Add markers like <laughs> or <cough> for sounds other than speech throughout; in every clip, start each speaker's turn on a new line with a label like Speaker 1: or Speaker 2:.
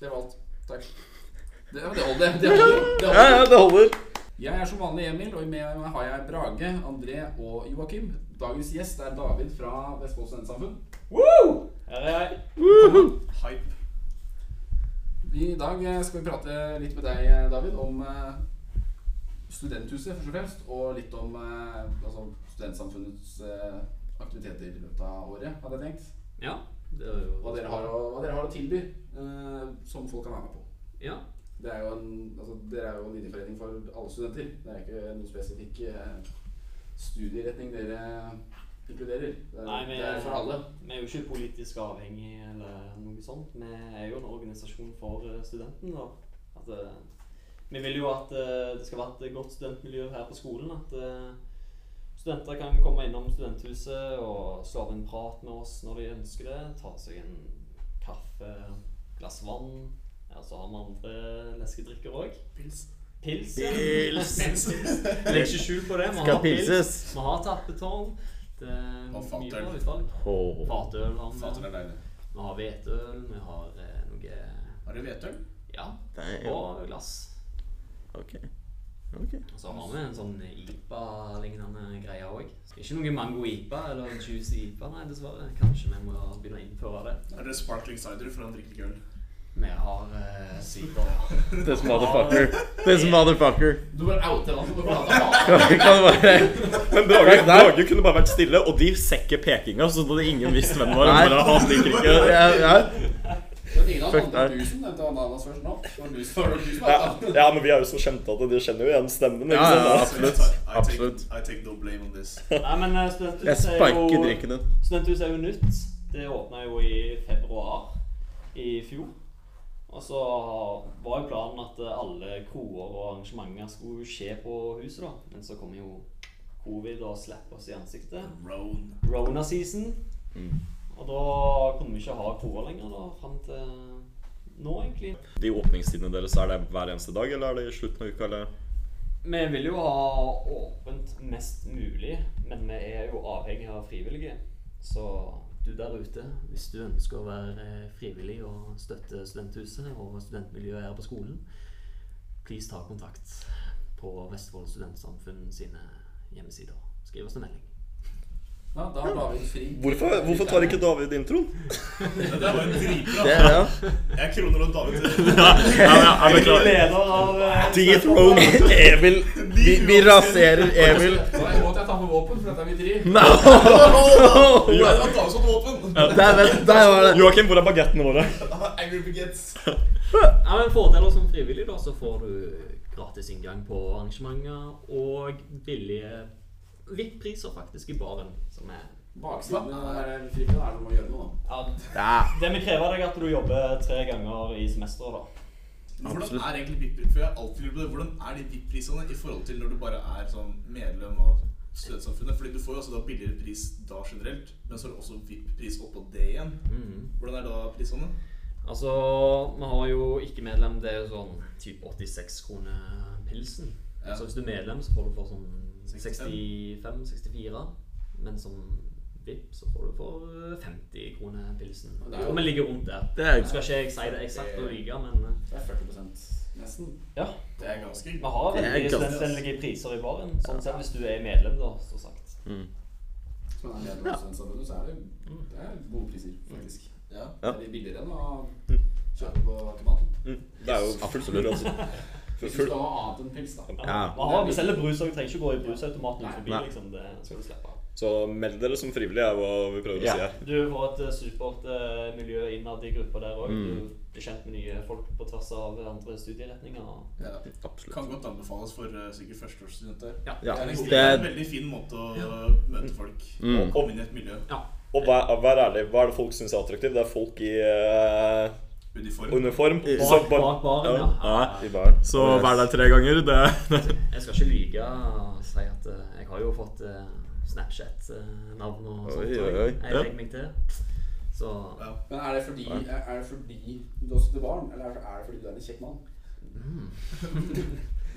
Speaker 1: Det var alt. Takk. Det, det holder. Det holder. Det
Speaker 2: Ja,
Speaker 1: holder.
Speaker 2: ja, det holder.
Speaker 1: Jeg er som vanlig Emil, og med meg har jeg Brage, André og Joakim. Dagens gjest er David fra Vestfold Studentsamfunn.
Speaker 2: Woo!
Speaker 1: Hype. I dag eh, skal vi prate litt med deg, eh, David, om eh, studenthuset først og fremst. Og litt om eh, altså, studentsamfunnets eh, aktiviteter i løpet av året, hadde jeg tenkt.
Speaker 3: Ja, det er jo
Speaker 1: Hva dere har å, hva dere har å tilby eh, som folk kan være med på.
Speaker 3: Ja,
Speaker 1: Det er jo en, altså, dere er jo en linjeforening for alle studenter. Det er ikke noen spesifikk eh, studieretning dere inkluderer. Det er,
Speaker 3: Nei, men-
Speaker 1: det er for alle.
Speaker 3: Vi er jo ikke politisk avhengig eller noe sånt. Vi er jo en organisasjon for eh, studenten. da. At, eh, vi vil jo at eh, det skal være et godt studentmiljø her på skolen. At eh, studenter kan komme innom studenthuset og slå av en prat med oss når de ønsker det. Ta seg en kaffe, glass vann. Ja, så har vi andre leskedrikker òg.
Speaker 1: Pils.
Speaker 3: Pils. ja.
Speaker 2: Pils.
Speaker 3: <laughs> Legg ikke skjul på det. Vi
Speaker 2: Skal
Speaker 3: har pils.
Speaker 2: pilses.
Speaker 3: Vi har tappetårn. Det er
Speaker 1: Og
Speaker 3: mye
Speaker 1: fatøl.
Speaker 3: bra utvalg.
Speaker 2: Åh.
Speaker 3: Fatøl har vi.
Speaker 1: er deilig.
Speaker 3: Vi har hvetøl, vi har eh, noe
Speaker 1: Har du hvetøl?
Speaker 3: Ja,
Speaker 2: Damn.
Speaker 3: og glass.
Speaker 2: Ok. Ok.
Speaker 3: Og så har vi en sånn IPA-lignende greie òg. Ikke noe mango-IPA eller en juicy-IPA, nei, dessverre. Kanskje vi må begynne å innføre det.
Speaker 4: Er det sparkling cider, for han drikker ikke øl.
Speaker 3: Vi har eh,
Speaker 2: <laughs>
Speaker 3: sider.
Speaker 2: This motherfucker. This motherfucker.
Speaker 1: Du bare outer han. Du bare prater.
Speaker 2: Kan du bare
Speaker 5: Men Brage, Brage kunne bare vært stille, og de sekker pekinga, så hadde ingen visst hvem det var.
Speaker 2: Nei.
Speaker 5: Bare, han drikker ikke.
Speaker 2: ja, ja.
Speaker 1: Men ingen av
Speaker 2: Fuck
Speaker 1: andre
Speaker 2: deg.
Speaker 1: du som nevnte ananas først nå. Det var du som- var det du som
Speaker 5: Ja,
Speaker 1: hadde den.
Speaker 5: ja, men vi er jo så kjente at de kjenner jo igjen stemmen. ikke
Speaker 2: Ja,
Speaker 5: sant?
Speaker 2: ja,
Speaker 5: da?
Speaker 4: Så jeg
Speaker 2: absolutt.
Speaker 4: tar- I take-
Speaker 2: Absolutt.
Speaker 4: I take no blame
Speaker 2: <laughs>
Speaker 4: on this.
Speaker 3: Nei, men eh,
Speaker 2: Jeg
Speaker 3: studenthuset er
Speaker 2: sparker
Speaker 3: jo
Speaker 2: drikken din.
Speaker 3: Studenthuset er jo nytt. Det åpna jo i februar i fjor. Og så var jo planen at alle kroer og arrangementer skulle skje på huset, da. Men så kom jo covid og slapp oss i ansiktet.
Speaker 4: Roan.
Speaker 3: Rona-season.
Speaker 2: Mm.
Speaker 3: Og da kunne vi ikke ha kroer lenger, da, fram til nå, egentlig.
Speaker 5: De åpningstidene deres, er det hver eneste dag, eller er det i slutten av uka, eller?
Speaker 3: Vi vil jo ha åpent mest mulig, men vi er jo avhengig av frivillige. Så du der ute, hvis du ønsker å være eh, frivillig og støtte studenthuset og studentmiljøet her på skolen, please ta kontakt på Vestfold Studentsamfunn sine hjemmesider. Skriv oss en melding.
Speaker 1: Ja, da har David fri.
Speaker 5: Hvorfor, hvorfor tar ikke David introen?
Speaker 4: Det der var en dritbra.
Speaker 2: Det,
Speaker 5: <laughs>
Speaker 2: ja.
Speaker 4: Jeg kroner og
Speaker 2: <laughs>
Speaker 4: David. <laughs>
Speaker 5: Jeg
Speaker 3: Leder av eh,
Speaker 2: Ah,
Speaker 5: <laughs> Dethrone.
Speaker 2: Emil. Vi, vi raserer Emil.
Speaker 1: Nå er jeg våt, jeg tar på våpen, for dette er mitt ri.
Speaker 2: No! <laughs>
Speaker 4: Nei, det var David som våpen. <laughs> Ah,
Speaker 2: Dæven, der var det.
Speaker 5: Joakim, hvor er bagettene våre?
Speaker 4: Angry Baguettes.
Speaker 3: Ja, men Fordeler som frivillig, da, så får du gratis inngang på arrangementer og billige VIP-priser faktisk i baren. Som er
Speaker 1: Baksiden er frivillig. Da er det noe å gjøre noe, da.
Speaker 3: ja,
Speaker 2: Ja.
Speaker 3: Det vi krever, er at du jobber tre ganger i semesteret, da.
Speaker 4: Hvordan
Speaker 2: Absolutt.
Speaker 4: er egentlig VIP-prisene? For jeg har alltid lurt på det. Hvordan er de VIP-prisene i forhold til når du bare er sånn medlem av studentsamfunnet? Fordi du får jo også da billigere pris da generelt, men så er det også VIP-pris oppå det igjen. Hvordan er da prisene?
Speaker 3: Mm. Altså, vi har jo ikke-medlem, det er jo sånn typ 86 kroner pilsen.
Speaker 4: Ja.
Speaker 3: Så hvis du er medlem, så får du for sånn
Speaker 4: 65.
Speaker 3: 65-64. Men som VIP, så får du for 50 kroner pilsen.
Speaker 1: Og det er jo-
Speaker 3: Og vi ligger rundt der.
Speaker 2: Det er jo-
Speaker 3: Nå skal ikke jeg si det eksakt og lyve, men eh,
Speaker 1: Det er 40 nesten.
Speaker 3: ja.
Speaker 1: Det er ganske
Speaker 3: Vi har
Speaker 2: Det er
Speaker 3: veldig
Speaker 2: ganske-
Speaker 3: studentvennlige priser i baren, sånn sett hvis du er medlem, da, så sagt.
Speaker 1: Hvis man er medlem av Studentsamfunnet, så er det, det er gode priser, faktisk.
Speaker 4: Ja.
Speaker 1: Det er litt billigere enn å kjøpe på automaten.
Speaker 5: Det er jo fullt mulig, altså.
Speaker 1: Hvis du skal ha annet enn pils, da.
Speaker 2: Ja.
Speaker 3: Vi har vi selger brus òg, trenger ikke gå i brusautomaten
Speaker 1: Nei.
Speaker 3: forbi,
Speaker 2: Nei.
Speaker 3: liksom. Det skal du slippe.
Speaker 5: Så meld dere som frivillige, er hva vi prøver å si her.
Speaker 3: Du får et eh, supert eh, miljø innad i gruppa der òg. Du blir kjent med nye folk på tvers av andre studieretninger.
Speaker 4: Ja.
Speaker 2: Absolutt.
Speaker 4: Kan godt anbefales for eh, sikkert førsteårsstudenter.
Speaker 3: Ja.
Speaker 2: Ja.
Speaker 4: Det er en- det er en
Speaker 2: Det,
Speaker 4: veldig fin måte å møte folk
Speaker 2: Mm.
Speaker 4: og komme inn i et miljø.
Speaker 5: Og vær, vær ærlig, hva er det folk syns er attraktivt? Det er folk i eh,
Speaker 4: Uniform.
Speaker 5: uniform.
Speaker 3: Bak, bak baren, ja.
Speaker 5: Ja, i baren.
Speaker 2: så vær
Speaker 5: der tre ganger. Det <laughs>
Speaker 3: Jeg skal ikke lyge og si at eh, jeg har jo fått eh, Snapchat-navn og
Speaker 2: Oi,
Speaker 3: sånt.
Speaker 2: oi,
Speaker 3: og
Speaker 2: oi.
Speaker 3: Jeg jeg
Speaker 5: Ja.
Speaker 3: legger meg til. Så
Speaker 4: Ja.
Speaker 1: Men er det fordi, er, er det fordi du også til barn, eller er det, er det fordi du er en kjekk mann?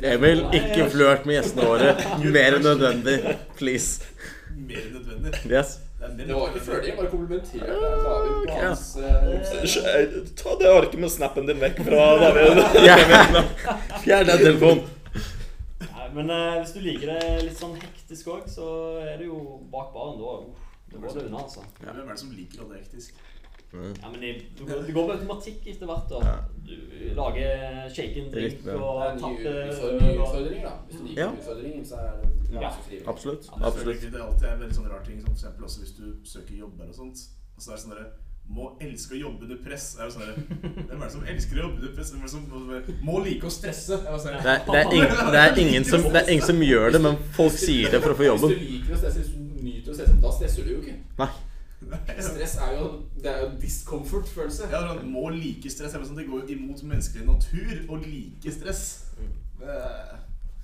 Speaker 2: Emil, ikke flørt med gjestene våre mer enn nødvendig. Please.
Speaker 4: Mer enn nødvendig.
Speaker 2: Yes.
Speaker 1: Det var ikke føling, jeg bare komplimenterte David på
Speaker 2: Ok, ja.
Speaker 1: hans eh,
Speaker 5: Sj- Ta det arket med snappen din vekk fra <laughs> David.
Speaker 2: Fjern den telefonen.
Speaker 3: Nei, men eh, hvis du liker det litt sånn hektisk òg, så er det jo bak baren da. Det går det unna, altså.
Speaker 4: Hvem er det som liker å ha det hektisk?
Speaker 3: Ja, men det, det går det går på automatikk etter hvert. da.
Speaker 5: Ja.
Speaker 3: Du lager shaken drink
Speaker 5: Riktig, ja.
Speaker 1: Det
Speaker 3: og
Speaker 1: er nye
Speaker 3: tapper
Speaker 1: utfordringer,
Speaker 3: øl og
Speaker 1: utfordringer, da. Hvis du liker
Speaker 2: Ja.
Speaker 1: utfordringer, så er det
Speaker 3: Ja.
Speaker 1: så frivillig.
Speaker 5: Absolutt.
Speaker 3: Ja,
Speaker 4: Det er
Speaker 5: Absolutt.
Speaker 4: veldig- Det er alltid en veldig sånn rar ting, som for eksempel også hvis du søker jobber og sånt. Og så er det sånn derre Må elske å jobbe under press. Det Er jo sånn derre Hvem er det som elsker å jobbe under press? Hvem er det som må like å stresse? Jeg var sånn, <laughs>
Speaker 2: Det er, det, er ingen, det, er ingen som, det er ingen som gjør det, men folk sier det for å få jobben.
Speaker 1: Hvis du liker å stresse, hvis du nyter å stresse, da stresser du jo ikke.
Speaker 2: Nei.
Speaker 1: Stress er jo det er jo en discomfort-følelse.
Speaker 4: Ja, altså, sånn, må like stress. Jeg var sånn, det går jo imot menneskelig natur å like stress.
Speaker 1: Mm.
Speaker 4: Det er-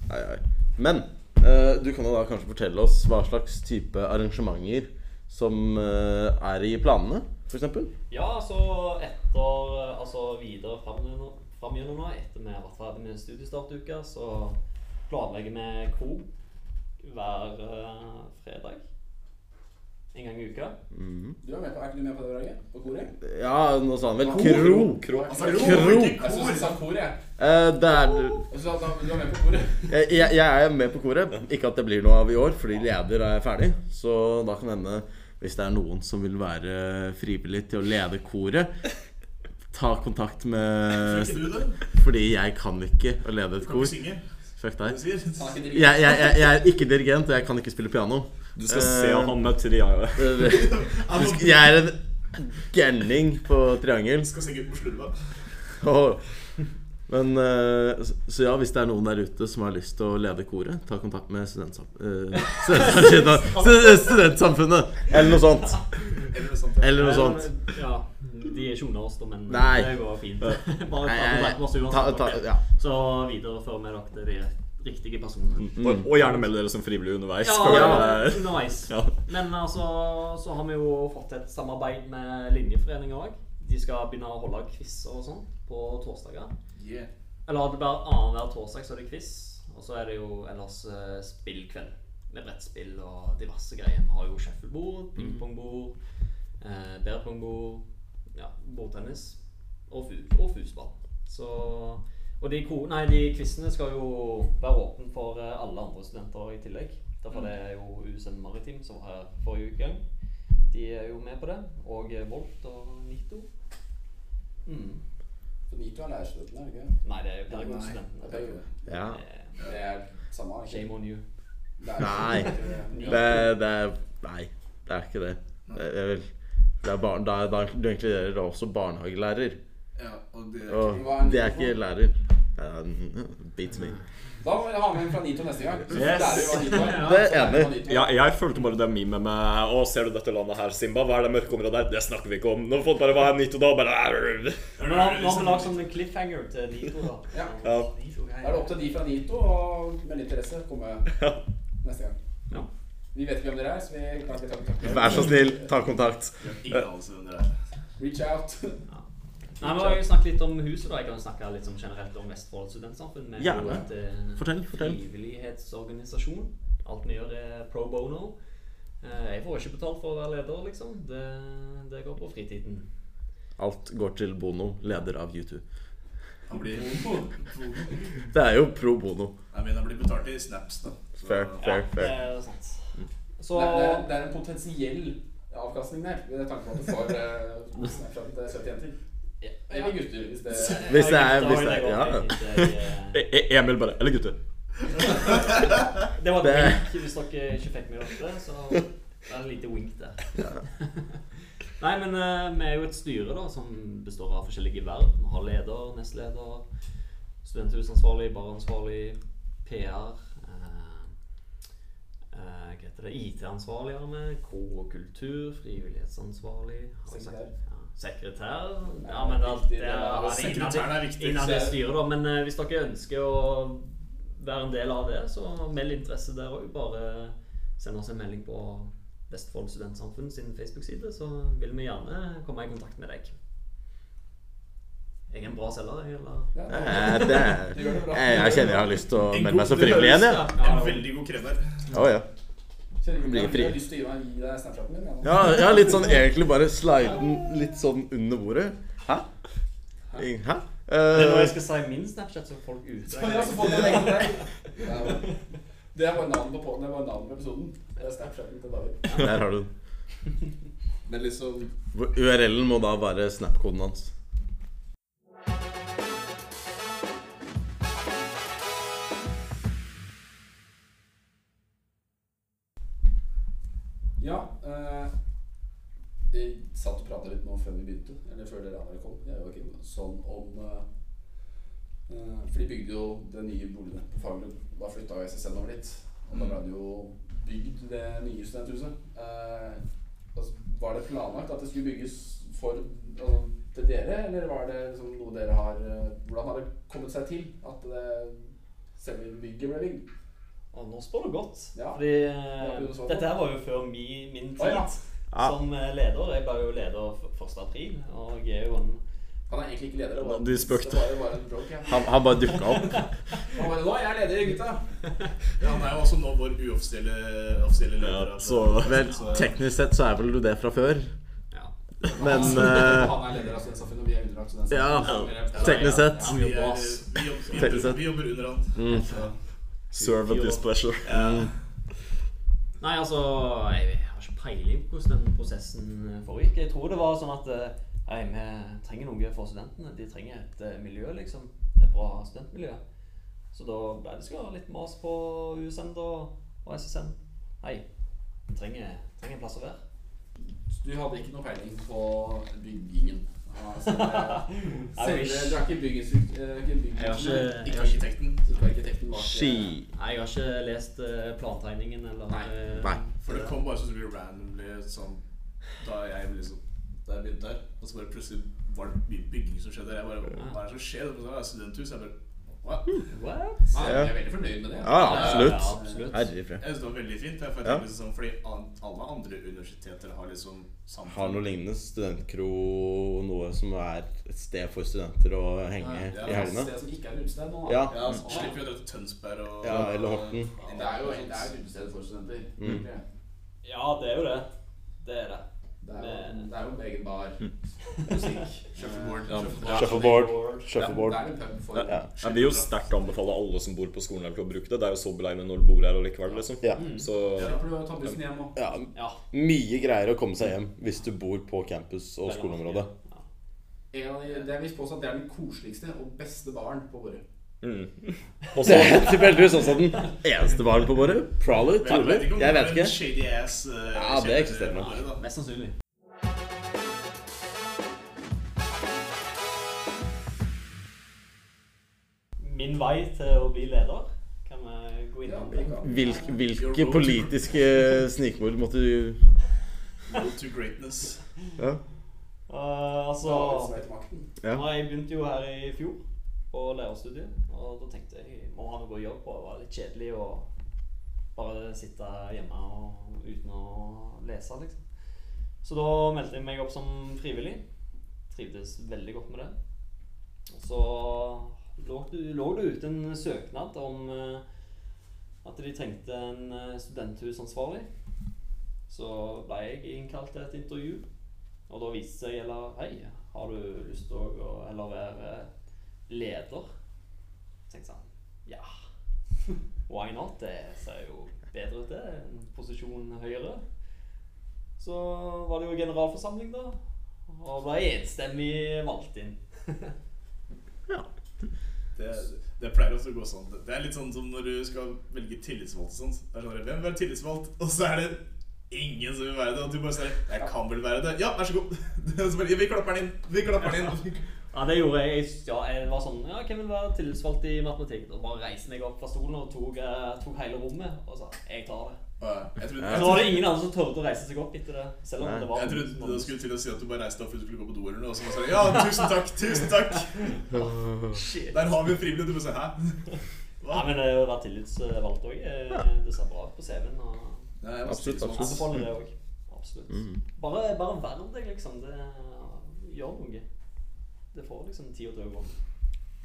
Speaker 2: Ai, ai. Men eh, du kan jo da kanskje fortelle oss hva slags type arrangementer som eh, er i planene, f.eks.?
Speaker 3: Ja, altså etter Altså videre fram gjennom nå, etter vi har vært ferdig med studiestartuka, så planlegger vi kro hver eh, fredag. En gang i uka.
Speaker 1: Du er, med på, er ikke du med på det, Brage? På koret?
Speaker 2: Ja, nå sa han vel
Speaker 5: Kro.
Speaker 4: Altså,
Speaker 1: Jeg
Speaker 4: kro,
Speaker 2: Kro.
Speaker 4: ikke
Speaker 1: synes du
Speaker 4: kor.
Speaker 1: sa kor, jeg.
Speaker 2: Eh, det er
Speaker 1: Jeg synes at du er med på koret.
Speaker 2: jeg, jeg jeg er med på koret. Ikke at det blir noe av i år, fordi leder er ferdig. Så da kan det hende, hvis det er noen som vil være frivillig til å lede koret, ta kontakt med
Speaker 4: Ikke du, det?
Speaker 2: Fordi jeg kan ikke å lede
Speaker 4: Du
Speaker 2: et
Speaker 4: kan ikke
Speaker 2: kor.
Speaker 4: synge.
Speaker 2: Fuck
Speaker 4: Du
Speaker 2: deg.
Speaker 1: <laughs> Han er
Speaker 4: sier.
Speaker 1: ikke
Speaker 2: Jeg, jeg, jeg, jeg er ikke dirigent, og jeg kan ikke spille piano.
Speaker 5: Du skal se han med
Speaker 4: <laughs>
Speaker 5: triangel.
Speaker 2: Eh. Du sk- Jeg er en gærning på triangel.
Speaker 4: Du skal synge på slurva.
Speaker 2: Åh. Men eh, s- Så ja, hvis det er noen der ute som har lyst til å lede koret, ta kontakt med eh, studentsamfunnet
Speaker 5: <laughs>
Speaker 2: eh, Studentsamfunnet! Eller noe sånt.
Speaker 4: Eller noe sånt.
Speaker 2: Eller noe sånt.
Speaker 3: Ja, de er ikke under oss, da, men
Speaker 2: Nei.
Speaker 3: det går
Speaker 2: <laughs>
Speaker 3: fint. Bare
Speaker 2: Nei,
Speaker 3: ta kontakt med oss
Speaker 2: jeg- ta- ta-
Speaker 3: uansett.
Speaker 2: ja.
Speaker 3: Så viderefører vi dere til de riktige personene.
Speaker 2: Mm.
Speaker 5: Og, og gjerne meld dere som frivillige underveis. skal vi
Speaker 3: Ja,
Speaker 5: gjøre.
Speaker 3: underveis.
Speaker 5: Ja.
Speaker 3: Men altså, så har vi jo fått et samarbeid med linjeforeninga òg. De skal begynne å holde quiz og sånn på torsdager.
Speaker 1: Yeah.
Speaker 3: Eller at det blir annenhver torsdag så er det quiz, og så er det jo ellers eh, spillkveld. Med brettspill og diverse greier. Vi har jo shufflebord,
Speaker 1: Mm.
Speaker 3: pingpongbord, eh, bærpongbord, ja, bordtennis og, fu og fusball. Så Og de, ko- nei, de quizene skal jo være åpne for eh, alle andre studenter i tillegg.
Speaker 1: Mm.
Speaker 3: Derfor det er jo USN Maritim som var her forrige uke. De er jo med på det. Og eh, Volt og Nito. Mm.
Speaker 1: Nito er lærerstudenten, er det ikke?
Speaker 3: Nei, det er jo
Speaker 1: Nei,
Speaker 3: pedagogstudentene.
Speaker 1: det er jo-
Speaker 2: Ja.
Speaker 3: Eh,
Speaker 1: Det er samme. er det ikke?
Speaker 3: Shame on you.
Speaker 1: <laughs>
Speaker 2: Nei.
Speaker 1: Lærerstudenter.
Speaker 2: Det, det er Nei, det er ikke det. Det er vel det er barn, da, da, Du inkluderer da også barnehagelærer.
Speaker 4: Ja, og det
Speaker 2: Og
Speaker 1: Hva er
Speaker 2: det er
Speaker 1: Nito?
Speaker 2: ikke lærer. Det er- uh, Beats me.
Speaker 1: Da må vi ha med en fra Nito neste gang. Så
Speaker 5: Yes.
Speaker 1: lærer vi hva Nito er.
Speaker 2: <laughs> Det
Speaker 1: Så lærer
Speaker 2: er
Speaker 1: vi
Speaker 2: enig.
Speaker 1: hva Nito er.
Speaker 5: Ja, jeg følte bare det memet med Å, ser du dette landet her, Simba? Hva er det mørke området der? Det snakker vi ikke om. Når folk bare var nytt og da, bare "Arr."
Speaker 3: Nå har nå har vi lagd sånn en cliffhanger til Nito, da.
Speaker 1: Ja.
Speaker 5: Ja.
Speaker 1: Da er det opp til de fra Nito og med litt interesse komme neste gang.
Speaker 3: Ja.
Speaker 1: Vi vet ikke hvem dere er, så vi kan ikke ta kontakt.
Speaker 2: <laughs> Vær så snill, ta kontakt.
Speaker 4: Ingen anelse hvem dere er.
Speaker 1: Reach out.
Speaker 3: Nei, Vi har jo snakket litt om huset. da Jeg kan jo snakke litt sånn generelt om Vestfold studentsamfunn. Vi er jo
Speaker 2: Gjerne.
Speaker 3: et, eh,
Speaker 2: Fortell, fortell.
Speaker 3: frivillighetsorganisasjon. Alt vi gjør, er pro bono. Eh, Jeg får ikke betalt for å være leder, liksom. Det, det går på fritiden.
Speaker 2: Alt går til Bono, leder av YouTube.
Speaker 4: Han blir
Speaker 2: Det er jo pro bono.
Speaker 4: Jeg mener, han blir betalt i snaps, da. Så-
Speaker 2: Fair, fair,
Speaker 3: Det
Speaker 2: fair.
Speaker 3: er sant. Mm. Så
Speaker 1: Det er, det er en potensiell avkastning der, med tanke på at du får eh, Snapchat til 71 ting.
Speaker 3: Ja.
Speaker 1: Eller gutter, hvis det
Speaker 2: <laughs>
Speaker 1: er
Speaker 2: Hvis det er-
Speaker 3: Ja,
Speaker 2: hvis
Speaker 3: gutter,
Speaker 2: det er- ja.
Speaker 3: det går
Speaker 2: <laughs>
Speaker 3: fint. Jeg,
Speaker 5: E- E- Emil bare Eller gutter.
Speaker 3: eh, Det var
Speaker 2: Det-
Speaker 3: et wink hvis dere ikke fikk med dere det. <laughs> Så det er et lite wink der. <laughs> Nei, men eh, vi er jo et styre da som består av forskjellige verv. Vi har leder, nestleder, studenthusansvarlig, baransvarlig, PR eh, eh, Hva heter det? IT-ansvarlig har vi. Kro og kultur. Frivillighetsansvarlig. har jeg sagt.
Speaker 1: Sekretær.
Speaker 3: Ja, Sekretær. Ja, men det, det, er- det er innad i-
Speaker 4: Sekretæren er viktig.
Speaker 3: innad i styret, da. Men eh, hvis dere ønsker å være en del av det, så meld interesse der òg. Bare send oss en melding på Vestfold Studentsamfunn sin Facebook-side, så vil vi gjerne komme i kontakt med deg. Jeg er en bra selger, jeg, eller?
Speaker 1: ja,
Speaker 2: Eh, Det er,
Speaker 1: Du gjør det bra.
Speaker 2: jeg, jeg kjenner jeg har lyst til å
Speaker 4: En
Speaker 2: melde
Speaker 4: god-
Speaker 2: meg som
Speaker 4: det
Speaker 2: frivillig igjen,
Speaker 4: høres-
Speaker 2: jeg.
Speaker 3: Ja.
Speaker 4: En veldig god krem her.
Speaker 2: Ja. ja.
Speaker 1: Kjære Julian,
Speaker 2: blir fri.
Speaker 1: Jeg har lyst til å gi deg- gi deg Snapchaten din. jeg nå.
Speaker 2: Ja, ja, litt sånn egentlig bare slide den litt sånn under bordet. Hæ? Hæ?
Speaker 3: Det er når jeg
Speaker 2: Eh,
Speaker 3: skal si min Snapchat, så er folk ute.
Speaker 1: Ja, så får du legge deg. Ja, men Det er bare navnet på podden, det er bare navnet på episoden. Det er Snapchaten til David.
Speaker 2: der har du den.
Speaker 4: Men liksom
Speaker 2: Hvor URL-en må da være Snap-koden hans.
Speaker 1: Ja, eh, jeg satt og pratet litt nå før vi begynte, eller før dere andre kom, jeg og Joakim, sånn om eh, eh, For de bygde jo det nye boligene på Fagerlund. Da flytta jo SSN over dit. Og da ble det jo bygd det nye studenthuset. Eh, altså, var det planlagt at det skulle bygges for altså, til dere, eller var det liksom noe dere har eh, Hvordan har det kommet seg til at det, selve bygget ble bygd?
Speaker 3: Og nå spør du godt.
Speaker 1: Ja.
Speaker 3: Fordi eh,
Speaker 1: Ja, du sa det.
Speaker 3: dette her var jo før mi, min tid
Speaker 1: Å, ja.
Speaker 2: Ja.
Speaker 3: som eh, leder. Jeg ble jo leder f- 1. april, og jeg er jo en
Speaker 1: Han er egentlig ikke leder. Det
Speaker 2: Ja,
Speaker 1: var,
Speaker 2: du spøkte.
Speaker 1: det var jo bare en joke. Ja.
Speaker 2: Han, han bare dukka opp.
Speaker 1: Han bare, Nå er jeg leder, gutta!
Speaker 4: Ja, han er jo også nå vår uoffisielle offisielle leder.
Speaker 5: Ja,
Speaker 4: av-
Speaker 5: så-
Speaker 2: Vel, teknisk sett så er vel du det fra før. Men eh,
Speaker 1: Han er leder av studentsamfunnet, og vi er sånn, underlagt
Speaker 2: Ja,
Speaker 1: studentsamfunnet. Ja,
Speaker 2: teknisk sett.
Speaker 4: vi, er, vi, jobber, vi,
Speaker 2: Teknisk sett.
Speaker 4: jobber, vi jobber under han.
Speaker 2: Mm.
Speaker 4: Så,
Speaker 5: Serve at displeasure.
Speaker 3: Nei, altså, jeg har ikke peiling på hvordan den prosessen foregikk. Jeg tror det var sånn at eh, nei, vi trenger noe for studentene. De trenger et eh, miljø, liksom. Et bra studentmiljø. Så da ble det skal litt mas på USN da, og SSN. Hei, vi trenger, trenger en plass å være.
Speaker 1: Du hadde ikke noe peiling på byggingen. Altså,
Speaker 3: <laughs>
Speaker 1: selve, du er ikke byggingsinstrukt- eh, ikke
Speaker 3: Jeg har
Speaker 1: bygginstruktør.
Speaker 3: ikke-
Speaker 4: ikke arkitekten.
Speaker 1: Du er arkitekten bak eh,
Speaker 2: Ski.
Speaker 3: Nei, jeg har ikke lest eh, plantegningen eller
Speaker 1: Nei.
Speaker 3: eh,
Speaker 2: Nei.
Speaker 4: For det kom bare så utrolig randomly sånn da jeg liksom Da jeg begynte her. Og så bare plutselig var det mye bygging som skjedde. Jeg bare Hva er det som skjer? Og så var det studenthus. Jeg bare What?
Speaker 3: What?
Speaker 1: Nei, Jeg er veldig fornøyd med det.
Speaker 2: Ja,
Speaker 3: Ja,
Speaker 2: absolutt.
Speaker 3: absolutt.
Speaker 2: Herre fred.
Speaker 4: Jeg synes det var veldig fint. Jeg, for jeg
Speaker 2: Ja.
Speaker 4: tenker liksom, sånn, fordi an- alle andre universiteter har liksom samfunn.
Speaker 2: Har noe lignende. Studentkro, noe som er et sted for studenter å henge
Speaker 4: Ja,
Speaker 2: i helgene.
Speaker 1: Det som ikke er utested nå. da.
Speaker 2: Ja.
Speaker 4: Ja, så slipper vi å dra til Tønsberg og
Speaker 2: Ja, eller Horten.
Speaker 1: Mm. Det er jo sånn- det er et utested for studenter.
Speaker 2: Mm.
Speaker 1: egentlig.
Speaker 3: Ja, det er jo det. Det er det.
Speaker 1: Det er jo,
Speaker 3: Men-
Speaker 1: det er jo egen bar, musikk
Speaker 3: <laughs>
Speaker 4: Shuffleboard.
Speaker 1: eh,
Speaker 5: Shuffleboard.
Speaker 1: Det
Speaker 5: Shuffleboard.
Speaker 1: er en pub for
Speaker 5: Ja. Jeg vil jo sterkt anbefale alle som bor på skolen her til å bruke det. Det er jo så beleilig når du bor her allikevel, liksom.
Speaker 2: Ja.
Speaker 4: Mm.
Speaker 5: Så
Speaker 1: Slipper du å ta bussen hjem òg.
Speaker 2: Ja,
Speaker 3: Ja.
Speaker 2: mye greier å komme seg hjem hvis du bor på campus og skoleområdet.
Speaker 3: Ja.
Speaker 1: Det er visst påstått at det er den koseligste og beste baren på Borre.
Speaker 5: Og
Speaker 2: Det
Speaker 5: så
Speaker 2: er tilfeldigvis også den eneste baren på Borre. Probably.
Speaker 4: Jeg
Speaker 2: Trolig.
Speaker 4: vet ikke
Speaker 2: Jeg
Speaker 4: om det
Speaker 2: vet
Speaker 4: er en
Speaker 2: ikke.
Speaker 4: shady ass eh,
Speaker 2: Ja, det
Speaker 4: kjeder-
Speaker 2: eksisterer nok.
Speaker 4: bare, da.
Speaker 3: Mest sannsynlig. Min vei til å bli leder kan vi gå
Speaker 1: Ja,
Speaker 3: innom.
Speaker 1: det
Speaker 3: det?
Speaker 1: kan.
Speaker 2: Hvilk, hvilke politiske snikmord måtte du
Speaker 4: Road to greatness.
Speaker 2: Ja.
Speaker 3: Eh, altså
Speaker 1: Så Det
Speaker 2: ja.
Speaker 3: nei, Jeg begynte jo her i fjor på lærerstudiet, og da tenkte jeg jeg må ha noe å gjøre på. Det var litt kjedelig å bare sitte hjemme og, uten å lese, liksom. Så da meldte jeg meg opp som frivillig. Trivdes veldig godt med det. Og så lå det, lå det ute en søknad om eh, at de trengte en eh, studenthusansvarlig. Så ble jeg innkalt til et intervju, og da viste det seg eller Hei, har du lyst til å gå- eller være leder? Så tenkte jeg sånn Ja, <laughs> why not? Det ser jo bedre ut, det. En posisjon høyere. Så var det jo generalforsamling, da. Og ble enstemmig valgt inn.
Speaker 4: Det, det pleier også å gå sånn. Det er litt sånn som når du skal velge tillitsvalgt og sånn. Det er sånn, Hvem vil være tillitsvalgt? Og så er det ingen som vil være det. Og du bare sier 'Jeg kan vel være det'. Ja, vær så god. <laughs> Og så bare, vi klapper den inn. Vi klapper den inn.
Speaker 3: Ja, det gjorde jeg. Jeg- Ja, jeg var sånn Ja, hvem vil være tillitsvalgt i matematikk? Da bare reiste jeg meg opp fra stolen og tok, eh, tok hele rommet og sa jeg tar det.
Speaker 4: Og Jeg trodde,
Speaker 3: Så var det
Speaker 4: jeg,
Speaker 3: ingen andre som torde å reise seg opp etter det. Selv om
Speaker 2: Nei.
Speaker 3: det var
Speaker 4: jeg trodde du skulle til å si at du bare reiste deg fordi du skulle gå på do eller noe. Og så bare sa jeg, 'Ja, tusen takk. Tusen takk'.
Speaker 3: Shit.
Speaker 4: Der har vi en frivillig. Du bare sier 'hæ'?
Speaker 3: Ja, men det å være tillitsvalgt òg, det ser bra ut på CV-en. og
Speaker 4: Nei, jeg var
Speaker 2: Absolutt,
Speaker 4: tillitsvalgt.
Speaker 2: absolutt.
Speaker 3: Anbefaler det òg. Absolutt.
Speaker 2: Mm.
Speaker 3: Bare, bare vær deg, liksom. Det gjør noe. Det får liksom tid å drømme om.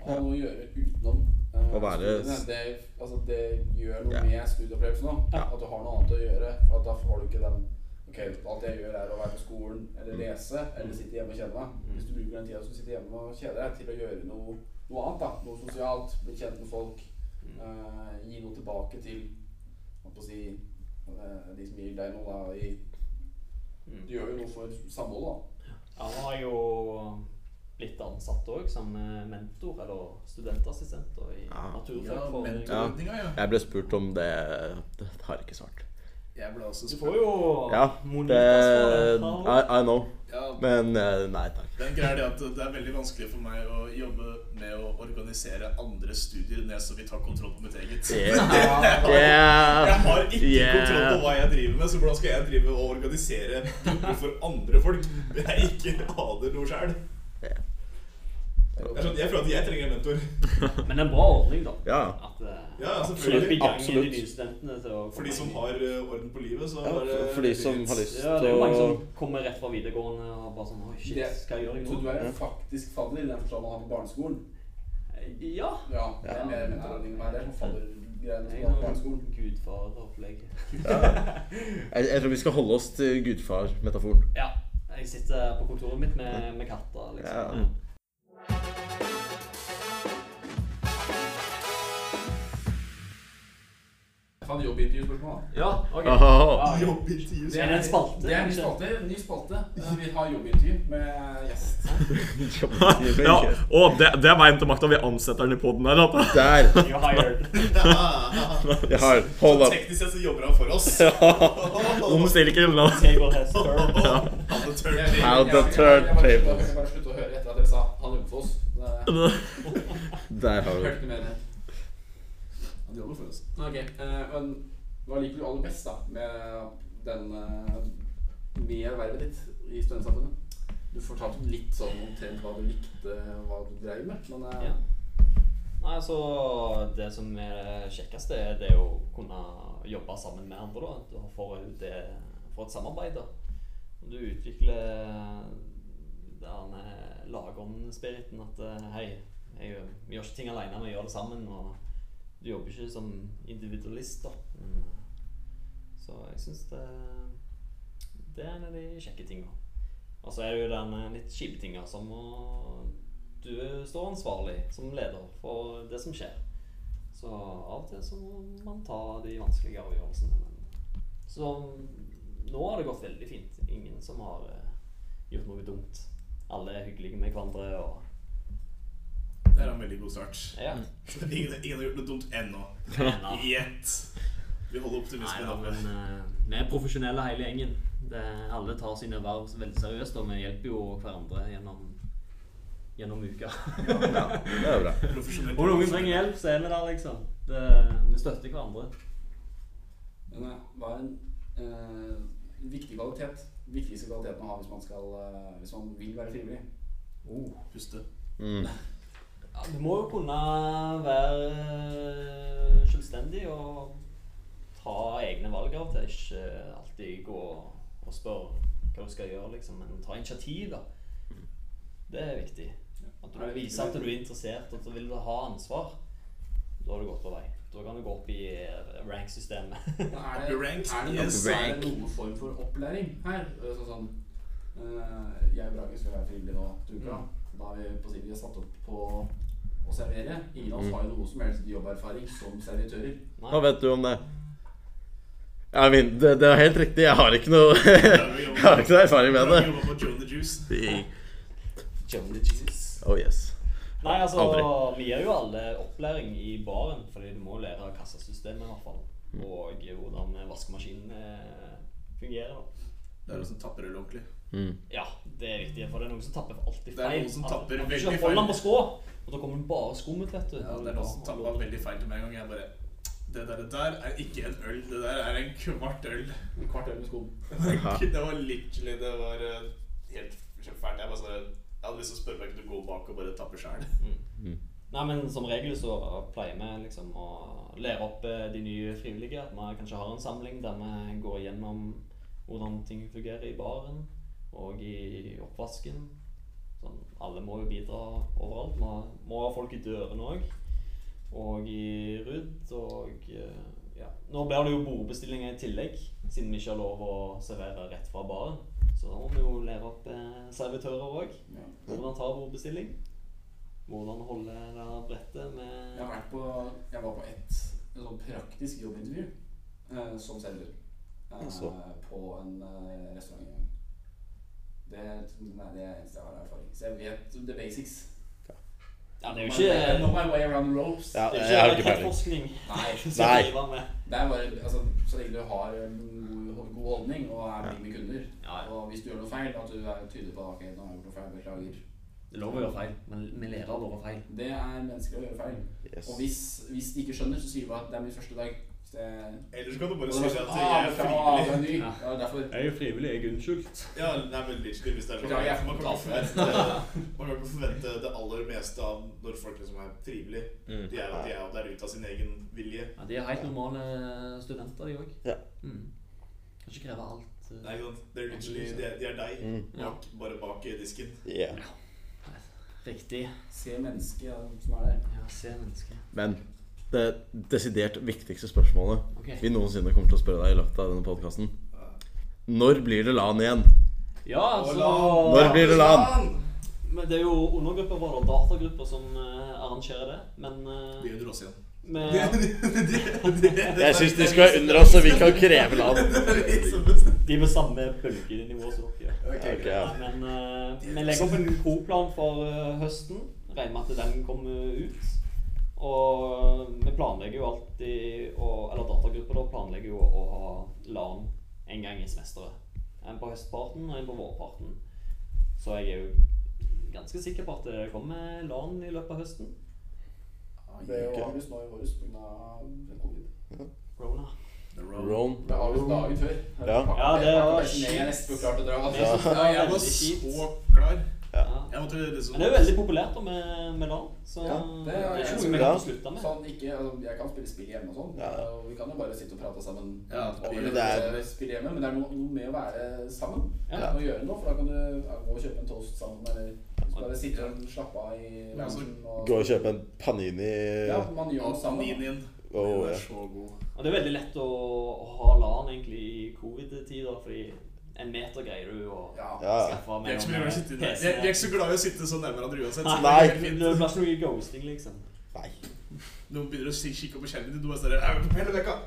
Speaker 1: å ha noe å gjøre utenom eh,
Speaker 2: Å være-
Speaker 1: studiene. Det, altså, det gjør noe
Speaker 2: Ja.
Speaker 1: med studieopplevelsen òg. At du har noe annet å gjøre. For at da får du ikke den Ok, alt jeg gjør er å være på skolen
Speaker 2: Mm.
Speaker 1: eller lese eller sitte hjemme og kjede meg. Hvis du bruker den tida som du sitter hjemme og kjeder deg, til å gjøre noe, noe annet. da Noe sosialt, bli kjent med folk.
Speaker 2: Mm.
Speaker 1: Eh, gi noe tilbake til hva på å si, eh, de som gir deg noe. da i,
Speaker 3: Mm.
Speaker 1: Du gjør jo noe for samholdet, da.
Speaker 3: Ja, nå har jeg jo blitt ansatt òg som eh, mentor eller studentassistent og i
Speaker 2: Ja.
Speaker 4: Ja,
Speaker 3: naturfag. for-
Speaker 4: mentorordninga, ja.
Speaker 2: Jeg ble spurt om det. Det har jeg ikke svart.
Speaker 4: Jeg ble også
Speaker 3: Du
Speaker 4: spurt.
Speaker 3: får jo
Speaker 2: Ja, det
Speaker 3: monetas for det.
Speaker 2: I, I know.
Speaker 4: Ja,
Speaker 2: Men eh, nei takk.
Speaker 4: den greia er det at det er veldig vanskelig for meg å jobbe med å organisere andre studier når jeg så vil ta kontroll på mitt <laughs> eget.
Speaker 2: Yeah.
Speaker 4: Jeg
Speaker 2: Yeah.
Speaker 4: har ikke
Speaker 2: Yeah.
Speaker 4: kontroll på hva jeg driver med, så hvordan skal jeg drive og organisere grupper for andre folk? Jeg ikke aner noe sjøl. Jeg føler at jeg trenger en mentor.
Speaker 3: Men det er en bra ordning, da.
Speaker 2: Ja.
Speaker 3: At eh,
Speaker 4: Ja,
Speaker 3: Absolutt.
Speaker 4: selvfølgelig.
Speaker 3: i gang
Speaker 2: Absolutt.
Speaker 3: de nye studentene til å komme
Speaker 4: For de som
Speaker 3: inn i-
Speaker 4: har eh, orden på livet, så
Speaker 2: Ja,
Speaker 4: er det
Speaker 2: for- for de som har lyst
Speaker 3: Ja, det er jo mange
Speaker 2: til å
Speaker 3: som kommer rett fra videregående og bare sånn Oi, shit,
Speaker 1: Det-
Speaker 3: skal jeg gjøre
Speaker 1: Så du
Speaker 3: nå?
Speaker 1: er
Speaker 2: Mm.
Speaker 1: jo faktisk fadder i den forstand man har på barneskolen?
Speaker 3: Ja.
Speaker 1: Ja, det er mer mentorordning enn meg. Det er sånn faddergreiene som man har på barneskolen.
Speaker 3: Gudfareropplegg.
Speaker 2: Jeg, jeg tror vi skal holde oss til gudfar-metaforen.
Speaker 3: Ja. Jeg sitter på kontoret mitt med, med katter, liksom.
Speaker 2: Ja.
Speaker 1: Jeg fant jobbintervjuspørsmål. da.
Speaker 3: Ja, ok.
Speaker 2: Åhå.
Speaker 3: Ja, ok.
Speaker 4: Jobbintervju.
Speaker 3: Det er en spalte,
Speaker 1: Det er en ny
Speaker 3: kanskje?
Speaker 1: spalte. Ny spalte. Eh, Vi har jobbintervju med gjest.
Speaker 5: Ja, og det, det er veien til makta. Vi ansetter den i poden her. da. <laughs>
Speaker 2: Der.
Speaker 3: You're hired. <laughs>
Speaker 4: <laughs>
Speaker 2: Jeg har Hold up.
Speaker 4: Teknisk sett så jobber han for oss. <laughs>
Speaker 5: Omstill ikke eller noe.
Speaker 3: Table has turned.
Speaker 4: Han er turned in.
Speaker 2: How the
Speaker 1: Jeg- jeg-
Speaker 2: third
Speaker 1: jeg- jeg- jeg-
Speaker 2: table.
Speaker 1: Jeg bare sluttet å høre etter at dere sa 'han jobber for oss'. Det
Speaker 2: Der har
Speaker 1: jeg hørte
Speaker 2: du det.
Speaker 1: ikke mer. enn det.
Speaker 4: Han jobber for oss.
Speaker 1: Ok, eh, men Hva liker du aller best da med den eh, med vervet ditt i studentsamfunnet? Du fortalte jo litt sånn omtrent hva du likte, hva du drev med, men eh,
Speaker 3: Ja. Nei, altså Det som er det kjekkeste, er det å kunne jobbe sammen med andre. da. At du får, ut det, får et samarbeid. da. Og Du utvikler den lagåndsspiriten at eh, Hei, jeg gjør, vi gjør ikke ting alene, vi gjør det sammen. Og du jobber ikke som individualist, da. Men, eh, så jeg syns det, det er en av de kjekke tinga. Og så er det jo den eh, litt kjipe tinga som å du står ansvarlig som leder for det som skjer. Så av og til så må man ta de vanskelige avgjørelsene. Men så nå har det gått veldig fint. Ingen som har eh, gjort noe dumt. Alle er hyggelige med hverandre og
Speaker 4: Det er en veldig god start.
Speaker 3: Ja.
Speaker 4: Ingen, ingen har gjort noe dumt ennå.
Speaker 3: <laughs> Nei,
Speaker 4: Gjett. Vi holder optimismen
Speaker 3: da,
Speaker 4: oppe.
Speaker 3: men eh, vi er profesjonelle hele gjengen. Det, alle tar sine verv veldig seriøst, og vi hjelper jo hverandre gjennom, gjennom uka.
Speaker 2: Det er bra.
Speaker 3: <laughs>
Speaker 4: Profesjonelt.
Speaker 3: Om noen trenger hjelp, så er vi der, liksom. Det, vi støtter hverandre.
Speaker 1: Men eh, hva er en eh, viktig kvalitet? Viktigste kvaliteten å ha hvis man, skal, eh, hvis man vil være frivillig?
Speaker 4: Puste.
Speaker 2: Mm.
Speaker 3: Ja, du må jo kunne være selvstendig og ta egne valg av og til. Ikke eh, alltid gå og spørre hva du skal gjøre, liksom, men ta initiativ. da. Det er viktig. At du
Speaker 1: Er det viktig?
Speaker 3: viser at du er interessert, og så vil du ha ansvar. Da har du gått på vei. Da kan du gå opp i eh, rank-systemet.
Speaker 1: Men Er det, er
Speaker 4: Rank,
Speaker 1: det, noen,
Speaker 4: yes.
Speaker 1: er det noen form for opplæring her? Eh, Sånn sånn eh, Jeg og Brage skal være frivillige nå til uka.
Speaker 4: Mm.
Speaker 1: Da er vi på å si vi er satt opp på å servere. Ingen
Speaker 4: Mm.
Speaker 1: av oss har jo noe som helst jobberfaring som servitører.
Speaker 2: Hva vet du om det? Jeg min, det, det er helt riktig. Jeg har ikke noe <laughs> Jeg har ikke noe erfaring med det.
Speaker 4: Jobba på Joe the Juice.
Speaker 3: Jolly Jesus.
Speaker 2: Oh yes.
Speaker 3: Nei, altså,
Speaker 2: Aldri.
Speaker 3: vi gir jo alle opplæring i baren, fordi du må lære kassasystemet i hvert fall. Og hvordan vaskemaskinen eh, fungerer. da.
Speaker 4: Det er noen som tapper øl ordentlig.
Speaker 3: Ja, det er viktig, for det er noen som tapper alltid feil.
Speaker 4: Det er noen som
Speaker 3: At-
Speaker 4: tapper
Speaker 3: at du ikke
Speaker 4: veldig
Speaker 3: holder den
Speaker 4: feil.
Speaker 3: på skrå, og da kommer det bare skummet, vet du.
Speaker 4: Ja, det er noen som tappa veldig feil til meg en gang. Jeg bare det der, det der er ikke en øl, det der er en kvart øl.
Speaker 1: En kvart
Speaker 4: <laughs>
Speaker 1: øl med skoen.
Speaker 4: Det var literally Det var eh, helt fælt. Jeg bare sånn Jeg hadde lyst til å spørre meg om jeg kunne gå bak og bare tappe sjæl.
Speaker 3: Nei, men som regel så pleier vi liksom å lære opp eh, de nye frivillige. At vi kanskje har en samling der vi går igjennom hvordan ting fungerer i baren og i oppvasken. sånn, alle må jo bidra overalt. Må, må ha folk i dørene òg. Og i Rudd. Og eh, ja. Nå blir det jo bordbestillinger i tillegg, siden vi ikke har lov å servere rett fra baren. Så da må vi jo lære opp eh, servitører òg.
Speaker 1: Ja.
Speaker 3: Hvordan ta bordbestilling. Hvordan holde det der brettet med
Speaker 1: Jeg, har vært på, jeg var på et, et sånn praktisk jobbintervju eh, som selger eh,
Speaker 5: Jaså.
Speaker 1: på en eh, restaurant. en gang. Det er nei, det er eneste jeg har erfaring Så jeg vet the basics.
Speaker 3: Ja, det er jo
Speaker 1: I know
Speaker 3: ikke,
Speaker 1: my way around the ropes.
Speaker 5: Ja,
Speaker 3: det er
Speaker 5: jeg har
Speaker 3: jo
Speaker 5: ikke
Speaker 3: ikke
Speaker 5: peiling.
Speaker 3: rakettforskning. <laughs>
Speaker 1: Nei,
Speaker 3: vi skal
Speaker 5: Nei.
Speaker 3: drive med.
Speaker 1: det er bare altså, Så lenge du har en god, god holdning og er blid med kunder,
Speaker 3: Ja, ja.
Speaker 1: og hvis du gjør noe feil, at du er tydelig på at ok, nå har jeg gjort noe feil, beklager.
Speaker 3: Det er lov å gjøre feil, men vi lærer av våre feil.
Speaker 1: Det er mennesker å gjøre feil.
Speaker 5: Yes.
Speaker 1: Og hvis, hvis de ikke skjønner, så sier du bare at det er min første dag. Så det,
Speaker 4: Ellers kan du
Speaker 1: og
Speaker 4: bare
Speaker 1: det var
Speaker 4: si at
Speaker 1: sånn,
Speaker 4: jeg
Speaker 1: ah,
Speaker 4: er
Speaker 1: fra, ah, du
Speaker 4: frivillig.
Speaker 1: er ny. Ja, det er derfor.
Speaker 5: Jeg er jo frivillig, jeg er unnskyldt.
Speaker 4: Ja, nei, men literally, hvis det er sånn.
Speaker 1: Beklager, jeg får
Speaker 4: Man kan ikke
Speaker 1: betalt
Speaker 4: <laughs> forvente, man kan ikke forvente det aller meste av når folk liksom er frivillige.
Speaker 5: Mm.
Speaker 4: De er at de er der ute av sin egen vilje.
Speaker 3: Ja, De er helt normale studenter, de òg.
Speaker 5: Ja.
Speaker 3: Mm. Kan ikke kreve alt. eh.
Speaker 4: Nei, ikke sant? Det er literally, de er, de er deg,
Speaker 5: Mm.
Speaker 4: bak, bare bak disken.
Speaker 5: Yeah.
Speaker 3: Riktig.
Speaker 1: Se mennesket ja, som er der.
Speaker 3: Ja, se mennesket.
Speaker 2: Men det desidert viktigste spørsmålet
Speaker 3: Ok.
Speaker 2: vi noensinne kommer til å spørre deg i løpet av denne podkasten Når blir det LAN igjen?
Speaker 3: Ja,
Speaker 4: Hola!
Speaker 2: Når
Speaker 3: altså
Speaker 2: blir det LAN?
Speaker 3: Men Det er jo undergrupper våre og datagrupper som eh, arrangerer det, men eh,
Speaker 4: Det gjør oss igjen. <laughs>
Speaker 3: med,
Speaker 2: Jeg syns de skal være under oss, så vi kan kreve LAN.
Speaker 3: De er på samme bølgenivå som dere. gjør.
Speaker 5: Ok, ja.
Speaker 3: Men eh, vi legger opp en co-plan for eh, høsten. Regner med at den kommer ut. Og eh, vi planlegger jo alltid å Eller datagrupper da planlegger jo å ha LAN en gang i semesteret. En på høstparten og en på vårparten. Så jeg er jo ganske sikker på at det kommer LAN i løpet av høsten.
Speaker 1: Det ble jo avlyst nå i våres pga. covid.
Speaker 3: Corona.
Speaker 2: Ron.
Speaker 1: Det ble avlyst dagen før.
Speaker 5: Ja.
Speaker 3: Ja, det var
Speaker 1: Jeg er nesten klart å dra.
Speaker 3: Ja.
Speaker 1: altså.
Speaker 4: Ja, jeg var så klar.
Speaker 3: Ja.
Speaker 4: Jeg måtte liksom
Speaker 3: Men det er jo veldig populært da med, med LAN, så
Speaker 1: Ja, det
Speaker 3: det
Speaker 1: er-
Speaker 3: er
Speaker 1: jeg
Speaker 3: ikke
Speaker 1: tror
Speaker 3: noe vi
Speaker 5: det.
Speaker 3: kan slutte med.
Speaker 1: Sånn, ikke, altså, jeg kan spille spill hjemme og sånn,
Speaker 5: Ja.
Speaker 1: og vi kan jo bare sitte og prate sammen.
Speaker 4: Ja,
Speaker 1: over
Speaker 4: det
Speaker 1: det,
Speaker 5: er-
Speaker 1: eh, spille hjemme, Men det er noe, noe med å være sammen
Speaker 3: Ja.
Speaker 1: og gjøre noe. For da kan du ja, gå og kjøpe en toast sammen, eller så bare sitte og slappe av i
Speaker 4: Ja, så
Speaker 1: loungen. og-
Speaker 5: Gå og kjøpe en panini
Speaker 1: Ja, man gjør
Speaker 4: Og
Speaker 1: noe sammen. da.
Speaker 4: Saninien.
Speaker 5: Åh,
Speaker 4: Den
Speaker 5: ja.
Speaker 4: er så god.
Speaker 3: Og det er veldig lett å, å ha LAN egentlig i covid-tida, fordi en meter greier du å
Speaker 1: Ja.
Speaker 5: Ja.
Speaker 3: skaffe
Speaker 4: Vi er ikke så mye glad i å sitte der. Vi er- vi er
Speaker 3: PC-en.
Speaker 4: ikke så glad i å sitte så nærme hverandre uansett. så
Speaker 5: Nei.
Speaker 4: det er
Speaker 3: Det
Speaker 4: helt
Speaker 3: blir
Speaker 4: fint.
Speaker 3: ikke noe ghosting, liksom.
Speaker 5: Nei.
Speaker 4: Noen begynner å si- kikke på skjermen din, du bare står sånn der «Au, hele vekka.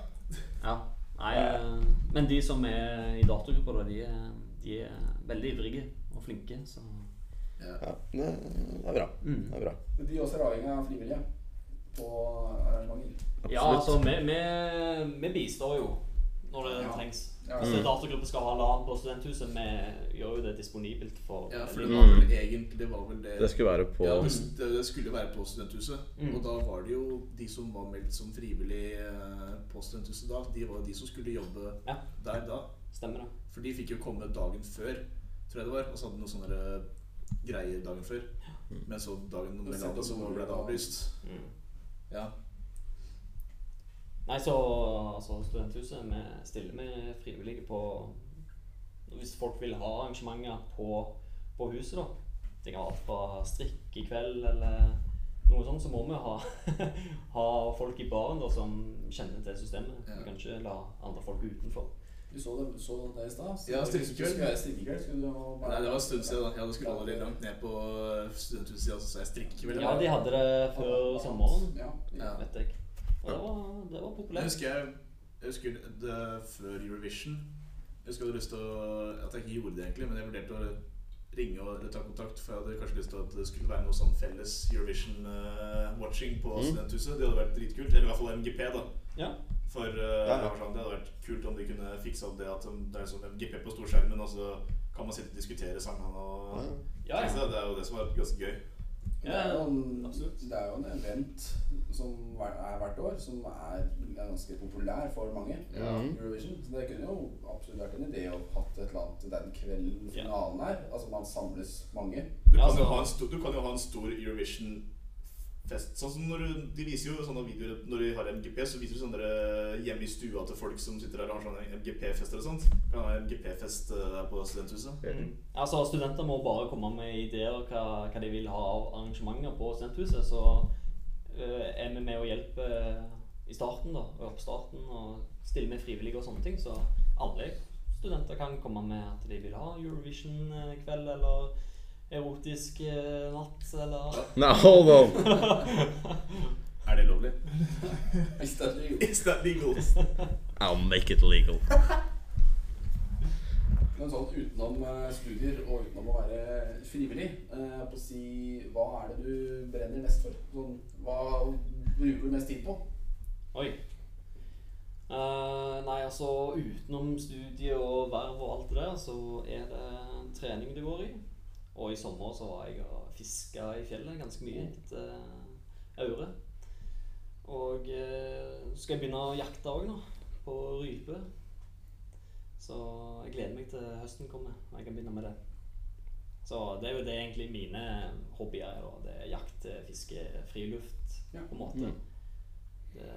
Speaker 3: Ja. Nei, eh, men de som er i datagruppa, da, de er, de er veldig ivrige og flinke, så
Speaker 5: Ja, det er bra.
Speaker 3: mm.
Speaker 5: Det er bra.
Speaker 1: Men De også er avhengig av frivillige på arrangementer.
Speaker 3: Ja, altså, vi, vi, vi bistår jo når det
Speaker 1: Ja.
Speaker 3: trengs.
Speaker 1: Ja.
Speaker 3: Hvis en datagruppe skal ha LAN på studenthuset, vi gjør jo det disponibelt for
Speaker 4: Ja, for det
Speaker 3: Mm.
Speaker 4: var vel egentlig det var vel
Speaker 2: Det skulle være på
Speaker 4: Ja, det, det det skulle være på studenthuset.
Speaker 3: Mm.
Speaker 4: Og da var det jo de som var meldt som frivillig eh, på studenthuset da, de var jo de som skulle jobbe
Speaker 3: Ja.
Speaker 4: der da.
Speaker 3: Stemmer det.
Speaker 4: For de fikk jo komme dagen før, tror jeg det var, og så hadde de noen sånne eh, greier dagen før. Men så dagen
Speaker 1: Det
Speaker 4: de la det, så ble det avlyst.
Speaker 3: Mm.
Speaker 4: Ja.
Speaker 3: Nei, så altså, Studenthuset vi stiller med frivillige på Hvis folk vil ha arrangementer på, på huset, da. Det kan være alt fra strikk i kveld eller noe sånt, så må vi ha, <laughs> ha folk i baren da, som kjenner til systemet.
Speaker 4: Ja.
Speaker 3: Vi kan ikke la andre folk utenfor.
Speaker 1: Du så det, så det i stad?
Speaker 4: Ja, strikkekveld.
Speaker 1: Skulle du være strikkekveld? Skulle du ha
Speaker 4: Nei, det var en stund siden. da. Jeg hadde skrolla litt langt ned på eh, studenthuset, siden, så sa jeg strikkekveld.
Speaker 3: Ja, de hadde det før sommeren,
Speaker 1: Ja.
Speaker 4: Ja.
Speaker 3: vet jeg. Og det var, det var
Speaker 4: Jeg
Speaker 3: populært.
Speaker 4: husker, jeg, jeg husker det før Eurovision. Jeg husker jeg hadde lyst til å At jeg ikke gjorde det, egentlig, men jeg vurderte å ringe og eller ta kontakt. For jeg hadde kanskje lyst til at det skulle være noe sånn felles Eurovision-watching på
Speaker 5: Mm.
Speaker 4: studenthuset. Det hadde vært dritkult. Eller i hvert fall MGP, da.
Speaker 3: Ja.
Speaker 4: For eh,
Speaker 5: ja.
Speaker 4: jeg var sånn, Det hadde vært kult om de kunne fiksa opp det at de- det er sånn MGP på storskjermen, og så kan man sitte og diskutere sangene og
Speaker 5: Ja, ja.
Speaker 3: Ja, ja.
Speaker 4: Så Det er jo det som er ganske gøy.
Speaker 1: Det er, jo en,
Speaker 3: absolutt.
Speaker 1: det er jo en event som hver- er hvert år, som er, er ganske populær for mange. Eurovision. Så det kunne jo absolutt vært en idé å hatt et eller annet den kvelden
Speaker 3: Ja.
Speaker 1: finalen er. Altså man samles mange. <laughs>
Speaker 4: Du
Speaker 3: Ja,
Speaker 4: kan, jo
Speaker 3: altså-
Speaker 4: ha en stor, du kan jo ha en stor Eurovision fest. Sånn som når du, De viser jo sånne videoer når de har MGP, så viser de sånne der hjemme i stua til folk som sitter der og har sånne MGP-fester og sånt. Kan ha MGP-fest eh, på studenthuset.
Speaker 3: Mm. Altså, Studenter må bare komme med ideer hva, hva de vil ha av arrangementer på studenthuset. Så eh, er vi med og hjelper i starten, da, og i oppstarten, og stiller med frivillige og sånne ting. Så alle studenter kan komme med at de vil ha Eurovision-kveld eller erotisk eh, natt eller
Speaker 2: <laughs>
Speaker 3: <laughs>
Speaker 2: Nei, hold on.
Speaker 4: Er det lovlig?
Speaker 1: Hvis det er jo.
Speaker 4: Is that legal?
Speaker 2: I'll make it legal.
Speaker 1: Men sånn utenom eh, studier og utenom å være frivillig, eh, på å si Hva er det du brenner mest for? Sånn, hva bruker du mest tid på?
Speaker 3: Oi. Eh, nei, altså utenom studie og verv og alt det der, så er det trening det går i. Og i sommer så var jeg og fiska i fjellet ganske mye etter eh, aure. Og eh, så skal jeg begynne å jakte òg nå, på rype. Så jeg gleder meg til høsten kommer og jeg kan begynne med det. Så det er jo det egentlig mine hobbyer er. da. Det er jakt, fiske, friluft
Speaker 1: Ja.
Speaker 3: på en måte. Det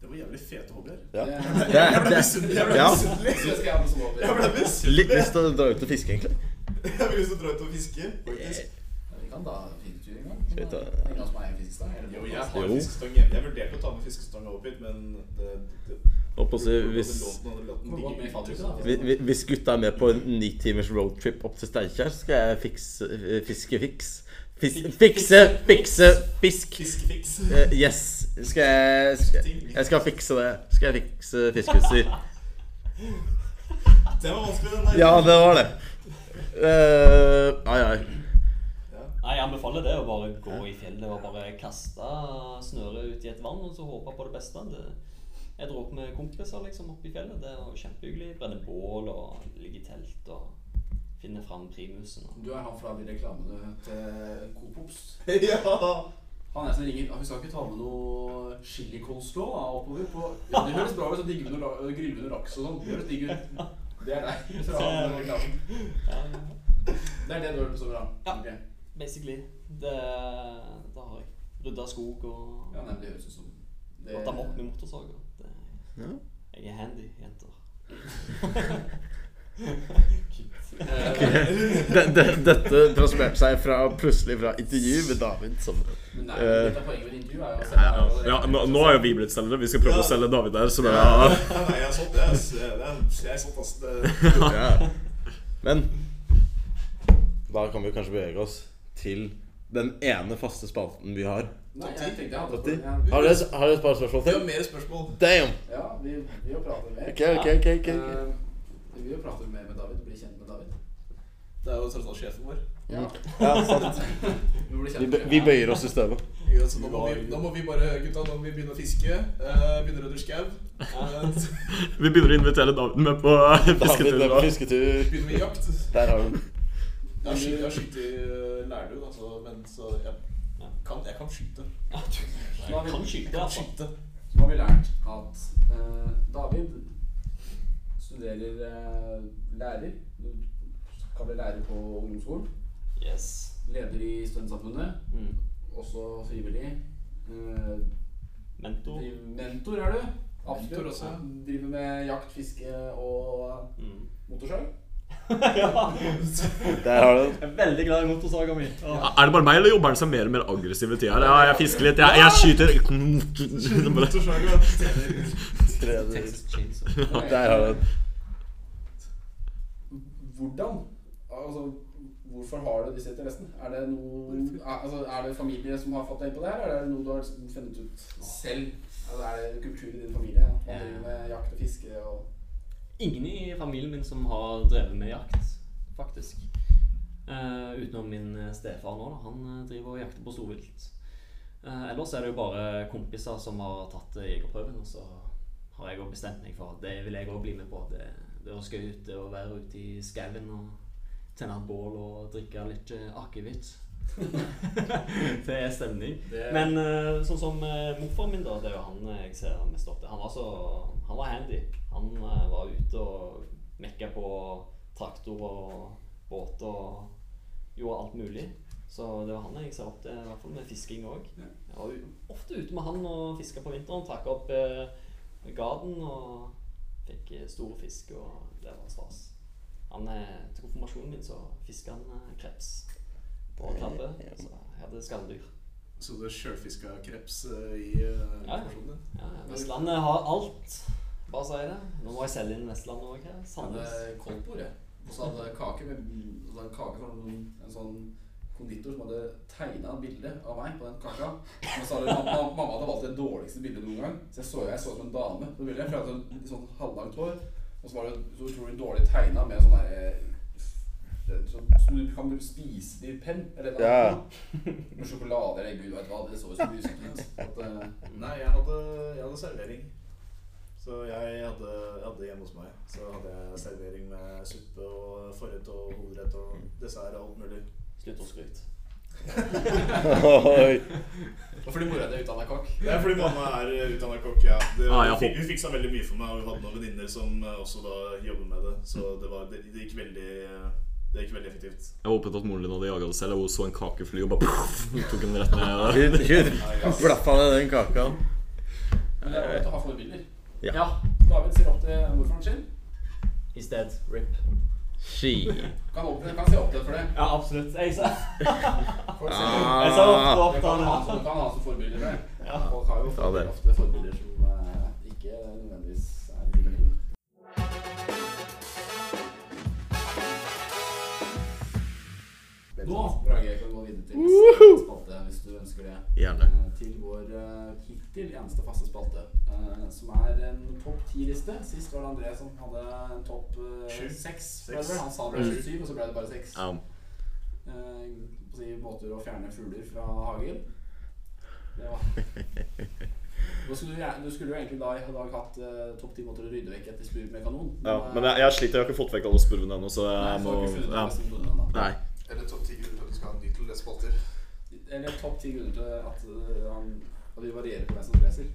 Speaker 4: Det var jævlig fete hobbyer.
Speaker 2: Ja.
Speaker 1: Det,
Speaker 2: Det er,
Speaker 4: Jeg
Speaker 2: det
Speaker 4: ble
Speaker 2: er
Speaker 4: misunnelig. Jeg ble
Speaker 2: Ja.
Speaker 4: misunnelig.
Speaker 1: det skal jeg ha med som
Speaker 4: Jeg ble
Speaker 1: hobby.
Speaker 2: litt
Speaker 4: misunnelig.
Speaker 2: lyst til å dra ut og fiske, egentlig.
Speaker 4: Jeg har lyst til å dra ut og fiske. faktisk.
Speaker 1: Ja, Vi kan ta fisketur en gang.
Speaker 2: Skal vi ta-
Speaker 1: Det er Ingen av oss som eier fiskestang. eller?
Speaker 4: Jo, jeg har
Speaker 2: Jo.
Speaker 4: fiskestang hjemme. Jeg vurderte å ta med fiskestang opp hit, men det, det,
Speaker 2: Håper å si hvis,
Speaker 1: Må gå med i fattighuset, da.
Speaker 2: hvi- hvi- hvis gutta er med på en ni timers roadtrip opp til Steinkjer, skal jeg fikse eh, Fiske fiks. Fis, fikse, fikse, fisk.
Speaker 4: Fiskefiks.
Speaker 2: Eh, yes. Skal jeg, skal jeg Jeg skal fikse det. Skal jeg fikse fiskeutstyr.
Speaker 4: Det var vanskelig, den der.
Speaker 2: Ja, det var det. Eh, ai, ai.
Speaker 3: Nei, Jeg anbefaler det å bare gå i fjellet og bare kaste snøret ut i et vann og så håpe på det beste. Det, jeg dro opp med kompiser liksom oppe i fjellet. Det var kjempehyggelig. Brenne bål og ligge i telt og finne fram primusen. Og.
Speaker 1: Du er han fra de reklamene eh, til Coop Ops.
Speaker 4: <laughs> Ja.
Speaker 1: Han er som ringer. «Ja, Vi skal ikke ta med noe chilicoleslaw da, oppover. På. Ja, det høres bra ut. så digger vi noe la- Griller vi noe laks og sånn. Det høres digg ut. Det er <laughs> deg. fra den reklamen.
Speaker 3: Ja,
Speaker 1: Det er det du har hørt så bra.
Speaker 3: Ja.
Speaker 1: Ok.
Speaker 3: basically. Det, da har jeg rydda skog og
Speaker 1: ja nei, det høres ut som det,
Speaker 3: gått amok med motorsag. og det-
Speaker 2: Ja.
Speaker 3: Jeg er handy, jenter.
Speaker 5: Eh,
Speaker 2: Det, det, dette transformerte seg fra, plutselig fra intervju med David som
Speaker 1: Men nei,
Speaker 2: Eh,
Speaker 1: litt av poenget med intervju er jo å
Speaker 5: Ja,
Speaker 1: selge deg, og det-
Speaker 5: ja, nå, nå er jo vi blitt selgere. Vi skal prøve å selge David der. Så det er,
Speaker 4: Nei, nei, jeg er sånn. Jeg er, det er, jeg er sånn, ass. Det,
Speaker 2: ja. Men da kan vi kanskje bevege oss til den ene faste spalten vi har.
Speaker 1: Nei, jeg tenkte jeg hadde
Speaker 2: Topp ti.
Speaker 1: Ja,
Speaker 2: Har dere, har dere et par spørsmål
Speaker 4: det er
Speaker 2: til?
Speaker 4: jo mer spørsmål.
Speaker 2: Damn!
Speaker 1: Ja, vi, vi har pratet mer.
Speaker 2: Ok, ok, ok. ok, ok.
Speaker 1: Eh, vi vil jo prate mer med David, bli kjent med David.
Speaker 4: Det er jo tross alt sjefen vår.
Speaker 1: Ja,
Speaker 2: Ja, sant.
Speaker 1: vi blir kjent
Speaker 2: Vi, bø-
Speaker 1: med
Speaker 2: vi bøyer oss i støvet.
Speaker 4: Ja, så nå, må vi, nå må vi bare gutta, nå må vi begynne å fiske. Uh, begynne å rydde skau. Eh, <laughs>
Speaker 5: vi begynner å invitere David med på <laughs>
Speaker 2: David
Speaker 5: fisketur.
Speaker 2: er på
Speaker 5: da.
Speaker 2: fisketur.
Speaker 4: begynne med jakt.
Speaker 2: Der har du den.
Speaker 4: Jeg har skytt- jeg har skutt i eh, Lærdø, da, så, men så jeg kan, jeg kan skyte.
Speaker 3: Ja, du-
Speaker 1: Nå har vi-
Speaker 3: kan skyte,
Speaker 4: Jeg kan
Speaker 3: altså.
Speaker 4: <laughs> skyte.
Speaker 1: Så har vi lært at eh, David studerer eh, lærer. Du kan bli lærer på ungdomsskolen.
Speaker 3: Yes.
Speaker 1: Leder i Studentsamfunnet.
Speaker 3: Mm.
Speaker 1: Også frivillig. Eh,
Speaker 3: Mentor.
Speaker 1: driv- mentor er du.
Speaker 4: Mentor
Speaker 1: Absolutt.
Speaker 4: også, ja.
Speaker 1: Driver med jakt, fiske og
Speaker 3: Mm.
Speaker 1: motorsag.
Speaker 4: <laughs>
Speaker 3: <laughs> ja.
Speaker 2: Der har du den.
Speaker 3: Jeg er veldig glad i motorsaga mi. Ja.
Speaker 5: Er det bare meg, eller jobber han seg mer og mer aggressiv i tida? her? Ja, jeg fisker litt. Jeg, jeg skyter.
Speaker 4: Motorsaga.
Speaker 2: Tredje.
Speaker 3: Texas Chainsaw.
Speaker 2: Der har du den.
Speaker 1: Hvordan? Altså, hvorfor har du disse interessene? Er det, noe, er, altså, er det familie som har fått deg inn på det her, eller er det noe du har funnet ut selv? Altså, er det kultur i din familie? At man driver med jakt og fiske og
Speaker 3: Ingen i familien min som har drevet med jakt, faktisk. Eh, utenom min eh, stefar nå. da. Han eh, driver og jakter på storvilt. Eh, ellers er det jo bare kompiser som har tatt eh, jegerprøven, og så har jeg også bestemt meg for at det vil jeg òg bli med på. Det, det å skal ut det å være ute i skauen og tenne et bål og drikke litt eh, akevitt. <laughs> det er stemning.
Speaker 1: Det-
Speaker 3: Men eh, sånn som eh, morfar min, da, det er jo han eh, jeg ser mest opp til. Han var, så, han var handy. Han eh, var ute og mekka på traktor og båt og gjorde alt mulig. Så det var han jeg ser opp til, i hvert fall med fisking òg.
Speaker 1: Ja.
Speaker 3: Jeg var jo ofte ute med han og fiska på vinteren. Trakk opp eh, garden og fikk eh, store fisk, og det var stas. Han, eh, til konfirmasjonen min så fiska han eh, kreps
Speaker 2: Eh,
Speaker 3: på krabbe, så jeg hadde skalldyr.
Speaker 4: Så du sjølfiska kreps eh, i eh,
Speaker 3: Ja.
Speaker 4: versjonen din?
Speaker 3: Ja, Vestlandet har alt. Bare si det. Nå må jeg selge inn Vestlandet òg her.
Speaker 1: hadde
Speaker 3: Sandnes.
Speaker 1: koldtbord, jeg. Og så hadde jeg kake med så hadde jeg kake fra en, en sånn konditor som hadde tegna et bilde av meg på den kaka. Men så hadde mamma, mamma hadde valgt det dårligste bildet noen gang. Så jeg så jeg så ut som en dame på bildet. For jeg hadde sånn, sånn halvlangt hår. Og så var det så utrolig dårlig tegna med sånn derre Sånn som du kan spise det i penn, eller noe
Speaker 2: Ja.
Speaker 1: annet. Med sjokolade eller gud vet hva. Det så jo så grusomt ut. At, eh,
Speaker 4: Nei, jeg hadde, jeg hadde servering. Så jeg hadde, jeg hadde hjemme hos meg Så hadde jeg servering med suppe og forrett og hovedrett og dessert og alt mulig.
Speaker 3: Slutt å skryte.
Speaker 2: Oi.
Speaker 1: og fordi mora di er utdanna kokk.
Speaker 4: Det er fordi mamma er utdanna kokk. Ja. Det,
Speaker 5: Ah, ja,
Speaker 4: hun fik- hun fiksa veldig mye for meg, og hun hadde noen venninner som eh, også da jobber med det. Så det, var, det, det, gikk veldig, eh, det gikk veldig effektivt.
Speaker 5: Jeg håpet at moren din hadde jaga det selv, og hun så en kake fly og bare <laughs> puff, tok den rett ned.
Speaker 2: Gud, gud. Blaffa ned den kaka.
Speaker 1: Men det er jo å ha forbilder.
Speaker 2: Ja.
Speaker 1: David ser opp til morfaren sin.
Speaker 3: I sted. Rip.
Speaker 2: Ski.
Speaker 1: Kan, opp, kan se opp til for det.
Speaker 3: Ja, absolutt. Jeg sa
Speaker 1: Folk ser opp.
Speaker 3: Jeg sa
Speaker 2: Ah.
Speaker 3: ofte
Speaker 1: Det
Speaker 3: opp til
Speaker 1: kan ha
Speaker 3: han.
Speaker 1: som, kan ha som forbilder. det. Folk har jo
Speaker 2: Ja, det.
Speaker 1: ofte forbilder som eh, ikke nødvendigvis er like gode. Nå, Brage, kan vi gå videre til neste spalte, hvis du ønsker det.
Speaker 2: Gjerne.
Speaker 1: Eh, Til vår eh, hittil eneste faste spalte, eh, som er en topp ti-liste. Sist var det André som hadde en topp eh,
Speaker 4: Sju.
Speaker 1: seks.
Speaker 4: Seks.
Speaker 1: var det vel? Han sa det ble syv, og så ble det bare seks
Speaker 5: Mm. Ja.
Speaker 1: eh, på å si, måter å fjerne fugler fra hagen. Det
Speaker 5: <laughs>
Speaker 1: var Nå skulle du, gjerne- du skulle jo egentlig da i dag hatt eh, topp ti måter å rydde vekk etter spurv med kanon. eh,
Speaker 5: Ja, men jeg, jeg sliter, jeg har ikke fått vekk alle spurvene ennå, så
Speaker 1: Nei,
Speaker 5: jeg
Speaker 1: så
Speaker 5: må
Speaker 1: har du ikke funnet
Speaker 5: ja.
Speaker 1: det som bodde den da.
Speaker 2: Nei.
Speaker 4: Eller topp ti grunner til at du skal ha en ny til å lese spalter.
Speaker 1: Eller topp ti grunner til at, eh, han, at vi varierer på hvem som leser.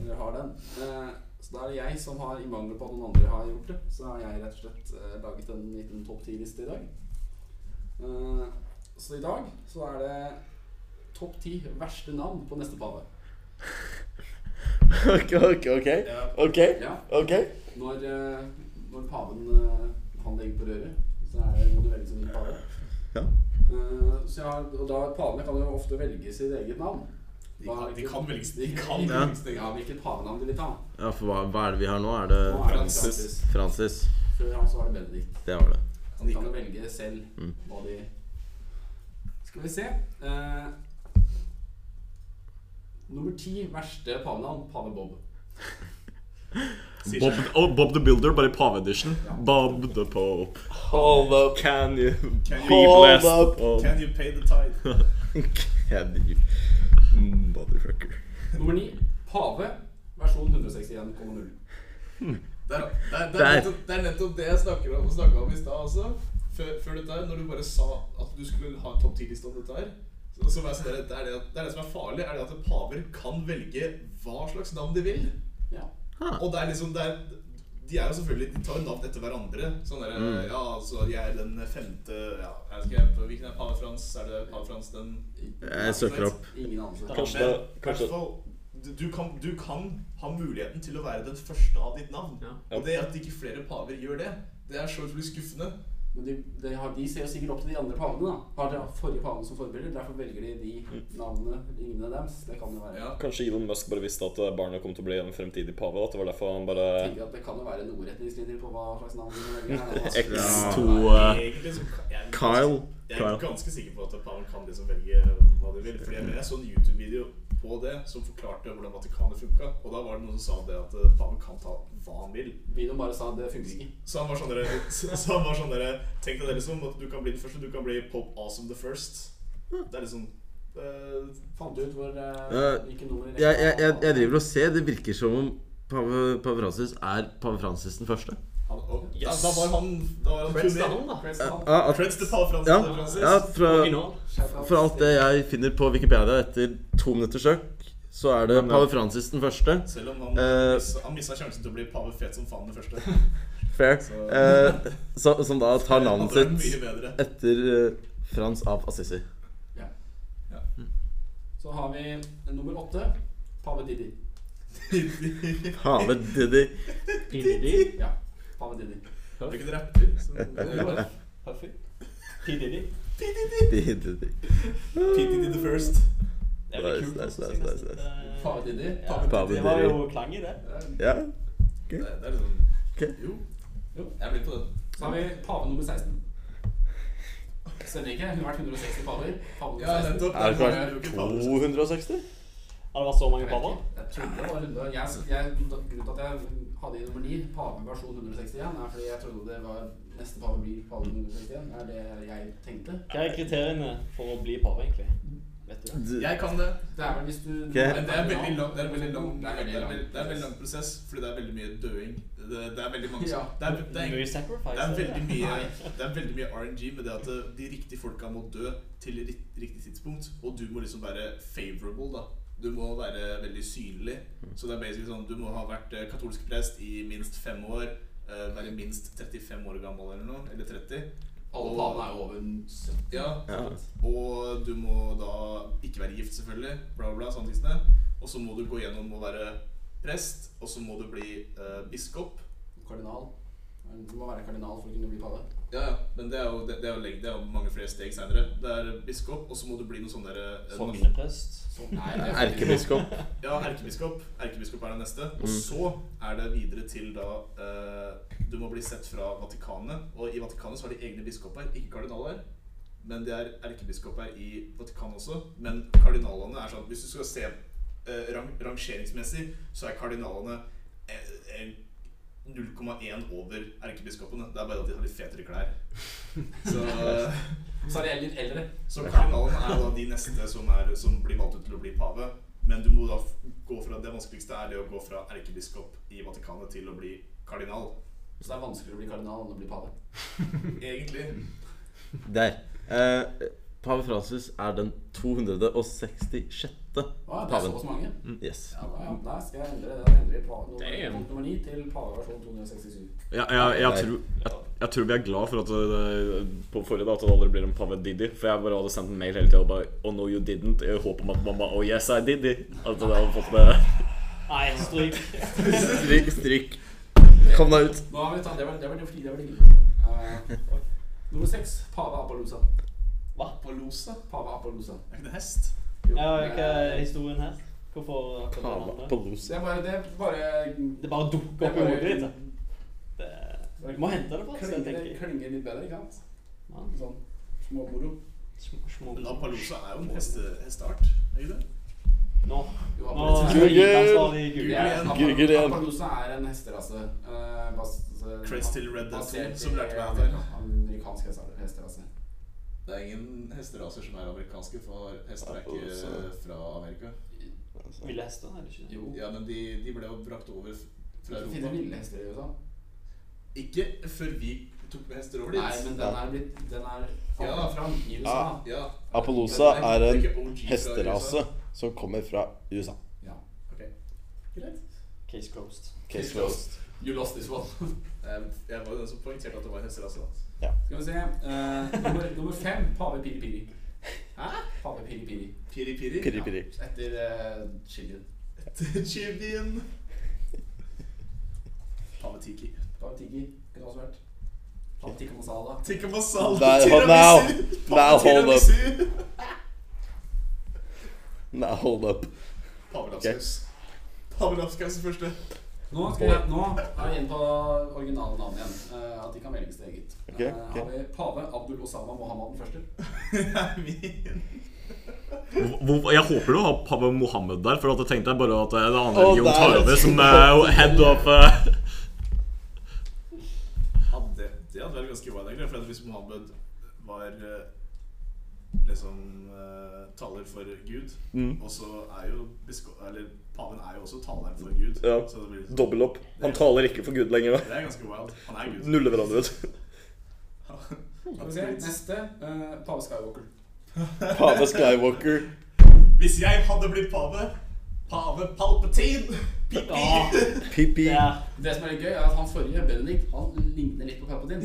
Speaker 1: Eller har den. Eh, så da er det jeg som har, i mangel på at noen andre har gjort det, så har jeg rett og slett eh, laget en liten topp ti-liste i dag. Eh, så i dag så er det topp ti verste navn på neste pave.
Speaker 2: <laughs> Ok, ok, ok. Ok,
Speaker 1: Ja,
Speaker 2: ok.
Speaker 1: når, eh, når paven eh, han legger på røret, så er det, må du velge som din pave.
Speaker 2: Ja.
Speaker 1: Eh, så jeg har, og da, Pavene kan jo ofte velge sitt eget navn.
Speaker 4: De kan- de kan velge sitt-
Speaker 1: de kan
Speaker 2: Ja.
Speaker 1: velge sitt eget navn. Hvilket pavenavn de vil ta.
Speaker 2: Ja, for hva, hva er det vi har nå? Er det
Speaker 1: Nå er det
Speaker 4: Francis.
Speaker 1: Francis.
Speaker 2: Francis?
Speaker 1: Før han så var det Benedikt.
Speaker 2: Det var det.
Speaker 1: Så de kan jo velge selv
Speaker 2: Mm.
Speaker 1: hva de Skal vi se. Eh, nummer ti verste pavenavn pave Bob.
Speaker 4: Sier
Speaker 5: Bob,
Speaker 4: seg.
Speaker 5: oh, Bob the Builder, bare i pave-edition.
Speaker 1: Ja.
Speaker 5: Bob the Pope.
Speaker 2: Hold up.
Speaker 5: Can you
Speaker 4: Can you-
Speaker 5: be
Speaker 2: Hold
Speaker 5: blessed?
Speaker 2: up.
Speaker 5: Oh,
Speaker 4: Can you pay the tide?
Speaker 2: Can you Motherfucker.
Speaker 1: Nummer ni pave versjon 161,0.
Speaker 4: Der, der, der,
Speaker 2: Der.
Speaker 4: er nettopp, det er nettopp det jeg snakker om, snakket om i stad også. Før, før dette her, når du bare sa at du skulle ha en topp 10-liste om dette her. Så, så var jeg sånn, der, det, er det, at- det er det som er farlig, er det at paver kan velge hva slags navn de vil.
Speaker 1: Ja.
Speaker 4: Og det er liksom det er, De er jo selvfølgelig De tar jo navn etter hverandre. Sånn der,
Speaker 2: Mm.
Speaker 4: Ja, altså, jeg er den femte ja, jeg vet ikke, Hvilken er pave Frans? Er det pave Frans den
Speaker 2: Jeg søker opp.
Speaker 1: Ingen anelse.
Speaker 5: Kanskje det-
Speaker 4: Men,
Speaker 5: kanskje-
Speaker 4: i hvert fall, du, du, kan, du kan ha muligheten til å være den første av ditt navn.
Speaker 3: Ja.
Speaker 4: Og det at ikke flere paver gjør det, det er så utrolig skuffende.
Speaker 1: Men de, de, har, de ser jo sikkert opp til de andre pavene. da Har de forrige paven som forbilder, derfor velger de de navnene lignende deres. Det kan jo være
Speaker 4: Ja.
Speaker 5: Kanskje Elon Musk bare visste at eh, barnet kom til å bli en fremtidig pave. At det var derfor han bare
Speaker 1: Jeg tenker at Det kan jo være noen retningslinjer på hva slags navn de velger. her, altså.
Speaker 5: X2 eh,
Speaker 4: Egentlig så kan- jeg,
Speaker 2: Kyle.
Speaker 4: jeg
Speaker 5: Kyle.
Speaker 4: er ganske sikker på at paven kan liksom velge hva de vil. Fordi jeg, jeg så en YouTube-video på det som forklarte hvordan Vatikanet funka. Og da var det noen som sa det at eh, paven kan ta hva han vil.
Speaker 1: Videoen bare sa at det funker ikke.
Speaker 4: Så han var sånn dere, <laughs> så han var sånn dere Tenk deg det liksom at du kan bli den første. Du kan bli Pope Awesome the First. Det er liksom eh,
Speaker 1: Fant du ut hvor
Speaker 2: Eh,
Speaker 1: uh, hvilke nummer i
Speaker 2: Jeg,
Speaker 1: rekka
Speaker 2: jeg, jeg, jeg
Speaker 1: han-
Speaker 2: driver og ser. Det virker som om pave, pave Francis er pave Francis den første.
Speaker 4: han, og, altså,
Speaker 3: Yes.
Speaker 4: da, da var han Da var han
Speaker 3: Preds
Speaker 4: pioner.
Speaker 3: til han, da.
Speaker 1: Preds til han.
Speaker 2: Ja, at-
Speaker 4: Creds til pave Frans.
Speaker 2: ja,
Speaker 4: Francis.
Speaker 2: ja fra,
Speaker 3: Original.
Speaker 2: fra alt det jeg finner på Wikipedia etter to minutters søk, så er det pave Francis den første.
Speaker 4: Selv om han,
Speaker 2: Eh.
Speaker 4: missa- han missa sjansen til å bli pave fet som faen det første.
Speaker 2: Fair.
Speaker 4: Så-
Speaker 2: Eh, så, som da tar
Speaker 4: Han
Speaker 2: navnet
Speaker 4: tror det er mye
Speaker 2: sitt
Speaker 4: bedre. <laughs>
Speaker 2: etter eh, Frans av Assisi.
Speaker 1: Så har vi nummer åtte. Pave Didi.
Speaker 2: Pave Diddy.
Speaker 3: P.D.D.
Speaker 1: Ja. Pave Didi.
Speaker 4: Er det ikke en rapper?
Speaker 2: <laughs>
Speaker 4: som-
Speaker 3: Puffy. P.D.D.
Speaker 2: Diddy.
Speaker 4: P.D.D. the first.
Speaker 3: Det er vel
Speaker 2: Nice,
Speaker 3: kult.
Speaker 2: nice,
Speaker 3: altså,
Speaker 2: nice,
Speaker 3: nesten
Speaker 2: nice,
Speaker 3: et, eh,
Speaker 1: Pave Didi.
Speaker 3: ja.
Speaker 2: Pave
Speaker 3: Det var
Speaker 2: Diddy.
Speaker 3: jo klang i det.
Speaker 2: Ja.
Speaker 4: Det, det er liksom
Speaker 2: Ok.
Speaker 4: Jo.
Speaker 1: Jo.
Speaker 4: Jeg blir på den.
Speaker 1: Så har vi pave nummer 16. Stemmer ikke? Hun har vært 160 paver. Pave
Speaker 4: Ja,
Speaker 1: nummer 16.
Speaker 4: nettopp.
Speaker 2: Er det
Speaker 4: Derfor
Speaker 2: klart
Speaker 4: er det jo ikke liksom. fader.
Speaker 2: 260?
Speaker 3: Har det vært så mange
Speaker 1: Jeg vet
Speaker 3: paver?
Speaker 1: ikke. Jeg trodde det var 100. Jeg, jeg, grunnen til at jeg hadde i nummer 9 pave versjon 161, er fordi jeg trodde det var neste pave blir pave 161. Det er det jeg tenkte.
Speaker 3: Hva er kriteriene for å bli pave, egentlig? Vet du
Speaker 2: D-
Speaker 3: det?
Speaker 4: Jeg kan det.
Speaker 1: Det er vel hvis du
Speaker 4: Men det er en veldig lang, det er en veldig lang,
Speaker 1: Det er veldig lang.
Speaker 4: det er en veldig lang prosess, fordi det er veldig mye døing. Det, det er veldig mange som
Speaker 1: Ja.
Speaker 4: det er, det er,
Speaker 3: Mye sacrifice.
Speaker 4: det er
Speaker 3: er det?
Speaker 4: veldig mye Det er veldig mye RNG med det at eh, de riktige folka må dø til ri- riktig tidspunkt, og du må liksom være favorable, da. Du må være veldig synlig. Så det er basically sånn du må ha vært eh, katolsk prest i minst fem år, eh, være minst 35 år gammel eller noe, eller 30.
Speaker 1: Alle pavene er jo over 70.
Speaker 4: Ja,
Speaker 2: Ja.
Speaker 4: og du må da ikke være gift, selvfølgelig. Bla, bla, bla. Sånne tingsene. Og så må du gå gjennom å være prest, og så må du bli eh, biskop.
Speaker 1: Kardinal. Du må være kardinal for å kunne bli pave.
Speaker 4: Ja, ja, men det er jo, det, det er jo, lenge- det er jo mange flere steg seinere. Det er biskop, og så må du bli noe sånn derre eh, nas-
Speaker 3: Sogneprest.
Speaker 1: Så, nei, det er
Speaker 2: Erkebiskop.
Speaker 4: Ja, erkebiskop. Erkebiskop er det neste. Og så er det videre til da eh, Du må bli sett fra Vatikanet. Og i Vatikanet så har de egne biskoper, ikke kardinaler. Men det er erkebiskoper i Vatikanet også. Men kardinalene er sånn Hvis du skal se eh, rang, rangeringsmessig, så er kardinalene eh, eh, 0,1 over erkebiskopene. Det er bare at de har litt fetere klær. Så, eh,
Speaker 1: Så er det litt eldre.
Speaker 4: så kardinalene er da de neste som, er, som blir valgt ut til å bli pave. Men du må da f- gå fra det vanskeligste er det å gå fra erkebiskop i Vatikanet til å bli kardinal.
Speaker 1: Så det er vanskeligere å bli kardinal enn å bli pave.
Speaker 4: Egentlig.
Speaker 2: Der. Eh, Pave Francis er den 266.
Speaker 1: Ah, det er
Speaker 2: Paven.
Speaker 1: såpass mange.
Speaker 2: Yes.
Speaker 1: Ja, da, ja. Da skal jeg endre det. Da endrer jeg pave nummer,
Speaker 5: Damn.
Speaker 1: punkt nummer 9 til paveversjon 267.
Speaker 5: Ja, jeg, jeg, tror, jeg, jeg tror vi er glad for at det, på forrige da, at det aldri blir en Pave Didi. For jeg bare hadde sendt en mail hele tida og bare Oh no, you didn't. I håp om at mamma Oh yes, I did it. At jeg hadde fått det.
Speaker 3: Nei, stryk.
Speaker 2: Stryk, stryk. Kom deg ut.
Speaker 1: Nå har vi tatt, Det var det var det var det var det gule. Eh,
Speaker 4: <laughs>
Speaker 1: Nummer seks pave Appaloosa.
Speaker 4: Apalosa?
Speaker 1: Pave Appaloosa.
Speaker 4: Er ikke det hest?
Speaker 1: Jo,
Speaker 3: Ja,
Speaker 1: det-
Speaker 3: hva er historien her? Hvorfor akkurat den andre?
Speaker 1: Så jeg bare, det er bare
Speaker 3: Det bare dukker opp i hodet ditt. da. Det- Vi må hente det fra et sted, tenker
Speaker 1: klinger,
Speaker 3: jeg.
Speaker 1: klinger litt bedre, ikke sant?
Speaker 3: Ja,
Speaker 1: Sånn småmoro.
Speaker 3: små- små-
Speaker 4: Men Apalosa er jo en heste, hesteart, er ikke det?
Speaker 3: Nå.
Speaker 1: Jo,
Speaker 3: Nå
Speaker 1: Appaloosa-
Speaker 3: er det idrettsansvarlig i
Speaker 1: Det
Speaker 3: Google.
Speaker 1: er-
Speaker 4: igjen.
Speaker 1: Appal-
Speaker 2: Google igjen.
Speaker 1: Appaloosa er en hesterase. eh, bas- eh,
Speaker 4: Crest Hill Red Dead
Speaker 1: basert i
Speaker 4: 2, som lærte meg at det er.
Speaker 1: Amerikansk hester- hesterase.
Speaker 4: Det er ingen hesteraser som er amerikanske, for hester er ikke
Speaker 2: Appaloosa.
Speaker 4: fra Amerika.
Speaker 3: Ville hester, er det ikke? det?
Speaker 1: Jo.
Speaker 4: Ja, men de, de ble jo brakt over f- fra
Speaker 1: Det finnes
Speaker 4: Europa.
Speaker 1: ville hester i USA.
Speaker 4: Ikke før vi tok med hester over dit.
Speaker 1: Nei, men den er blitt Den er
Speaker 4: Ja. Ah.
Speaker 1: falt fram i USA.
Speaker 4: Ja.
Speaker 2: Apollosa er
Speaker 4: Det
Speaker 2: en
Speaker 4: ikke OG fra
Speaker 2: hesterase
Speaker 4: USA.
Speaker 2: som kommer fra USA.
Speaker 1: Ja.
Speaker 4: Ok.
Speaker 1: Greit.
Speaker 3: Case closed.
Speaker 2: Case closed.
Speaker 1: You lost this one.
Speaker 4: Jeg jeg var jo den som poengterte at det var en hesterase. da.
Speaker 1: Skal vi se. eh, nummer, nummer fem, pave piri piri. Hæ? Pave piri piri.
Speaker 4: Piri Piri. eh,
Speaker 2: Piri, piri.
Speaker 1: Etter uh, chilien.
Speaker 4: Chibien. Pavatiki.
Speaker 1: Pave tiki kunne også vært. Pave tikka masala.
Speaker 4: Tikka masala.
Speaker 2: Nei, hold
Speaker 4: tiramisu.
Speaker 2: now. Now, hold up. Nei, hold
Speaker 4: Tiramisu.
Speaker 2: up.
Speaker 4: Pavelapskaus. Pavelapskaus er første.
Speaker 1: Nå, skal jeg, nå er vi inne på originale navn igjen. eh, at de kan velges til eget.
Speaker 2: Ok,
Speaker 1: Eh,
Speaker 2: ok.
Speaker 1: Har vi pave Abdul Osama Mohammed den første?
Speaker 4: Min.
Speaker 5: Hvor- hvor- Jeg håper du har Pave Mohammed der, for at jeg tenkte bare at eh, en annen
Speaker 2: Å,
Speaker 5: religion
Speaker 2: der.
Speaker 5: tar over som eh, head of eh,
Speaker 4: Ja, det, det hadde vært ganske wild, egentlig. For at hvis Mohammed var eh, liksom eh, taler for Gud,
Speaker 2: Mm.
Speaker 4: og så er jo bisko Eller paven er jo også taleren for Gud.
Speaker 5: Ja.
Speaker 4: Så det, blir, det
Speaker 5: Dobbel opp. Han taler ikke for Gud lenger. da.
Speaker 4: er ganske wild. Han er Gud.
Speaker 5: Nuller hverandre ut.
Speaker 1: Skal vi se. Neste. eh, pave Skywalker.
Speaker 2: Pave Skywalker.
Speaker 4: Hvis jeg hadde blitt pave Pave Palpatine! Pipi!
Speaker 3: Ja,
Speaker 2: Pippi.
Speaker 3: det er
Speaker 1: Det som er litt gøy, er at han forrige, Benedict, han ligner litt på Palpatine.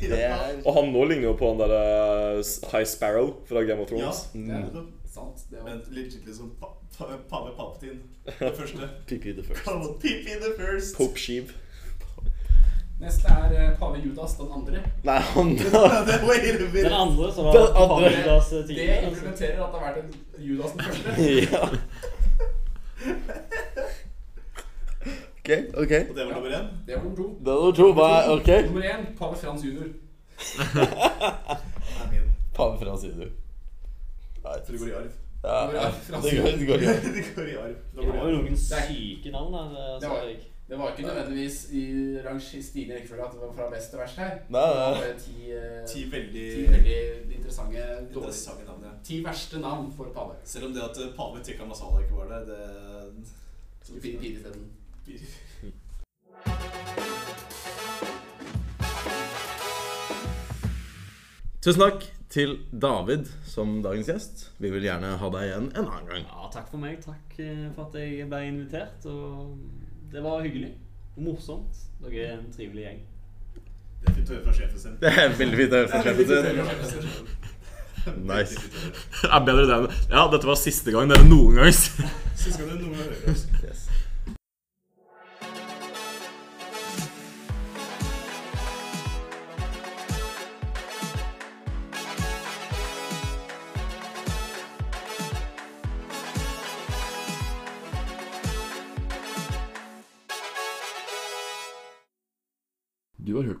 Speaker 2: Det er
Speaker 5: Og han nå ligner jo på han derre eh, High Sparrow fra Game of
Speaker 4: Ja,
Speaker 5: Thrones.
Speaker 2: Mm.
Speaker 4: det er det.
Speaker 1: Sant? Det er
Speaker 4: Men
Speaker 1: jo-
Speaker 4: legit liksom pa- pa- pave Palpatine, det første.
Speaker 2: Pipi the first.
Speaker 4: Call Pippi the first. <laughs>
Speaker 5: Pope Sheev.
Speaker 1: Neste er eh, pave Judas den andre.
Speaker 2: Nei, han
Speaker 4: Wait a minute.
Speaker 3: Den andre som
Speaker 2: Den
Speaker 3: var
Speaker 2: andre.
Speaker 3: Pavlidas
Speaker 2: eh,
Speaker 1: Det
Speaker 3: tidligere. altså.
Speaker 1: implementerer at det har vært en Judas den
Speaker 2: <laughs>
Speaker 1: første.
Speaker 2: Ja. OK. ok
Speaker 4: Og det var nummer én.
Speaker 1: Det var nummer to.
Speaker 2: Det er nummer to. Hva er OK?
Speaker 1: Nummer én pave Frans junior.
Speaker 4: er min.
Speaker 2: Pave fra siden. Nei,
Speaker 4: For det går i arv.
Speaker 2: ja, ja. Det går, det går greit.
Speaker 4: <laughs> det går i arv. Nå
Speaker 3: Det
Speaker 4: går
Speaker 3: var
Speaker 4: det i
Speaker 3: jo
Speaker 4: arv.
Speaker 3: noen
Speaker 1: Det er-
Speaker 3: syke navn der,
Speaker 1: Det
Speaker 3: sa
Speaker 1: var-
Speaker 3: jeg.
Speaker 1: Det var ikke nødvendigvis i range stigende rekkefølge at det var fra best til verst her.
Speaker 2: Nei,
Speaker 1: Det var
Speaker 2: nei.
Speaker 1: bare ti, eh,
Speaker 4: <laughs> Ti veldig
Speaker 1: ti veldig interessante dårlige
Speaker 4: interessante navn. ja.
Speaker 1: Ti verste navn for pave.
Speaker 4: Selv om det at eh, pave Tikka Masala ikke var der, det
Speaker 1: Skulle finne tid isteden.
Speaker 2: Tusen takk til David som dagens gjest. Vi vil gjerne ha deg igjen en annen gang.
Speaker 3: Ja, takk for meg. Takk eh, for at jeg ble invitert. Og det var hyggelig. Og morsomt. Dere er en trivelig gjeng.
Speaker 4: Det er fint å høre fra sjefen sin.
Speaker 2: Det er veldig fint å høre fra sjefen sin. Nice.
Speaker 5: Det er bedre det enn <laughs> Ja, dette var siste gang dere noen gang s-
Speaker 4: Siste gang du noen gang hører oss.
Speaker 2: Yes.
Speaker 6: Du har hørt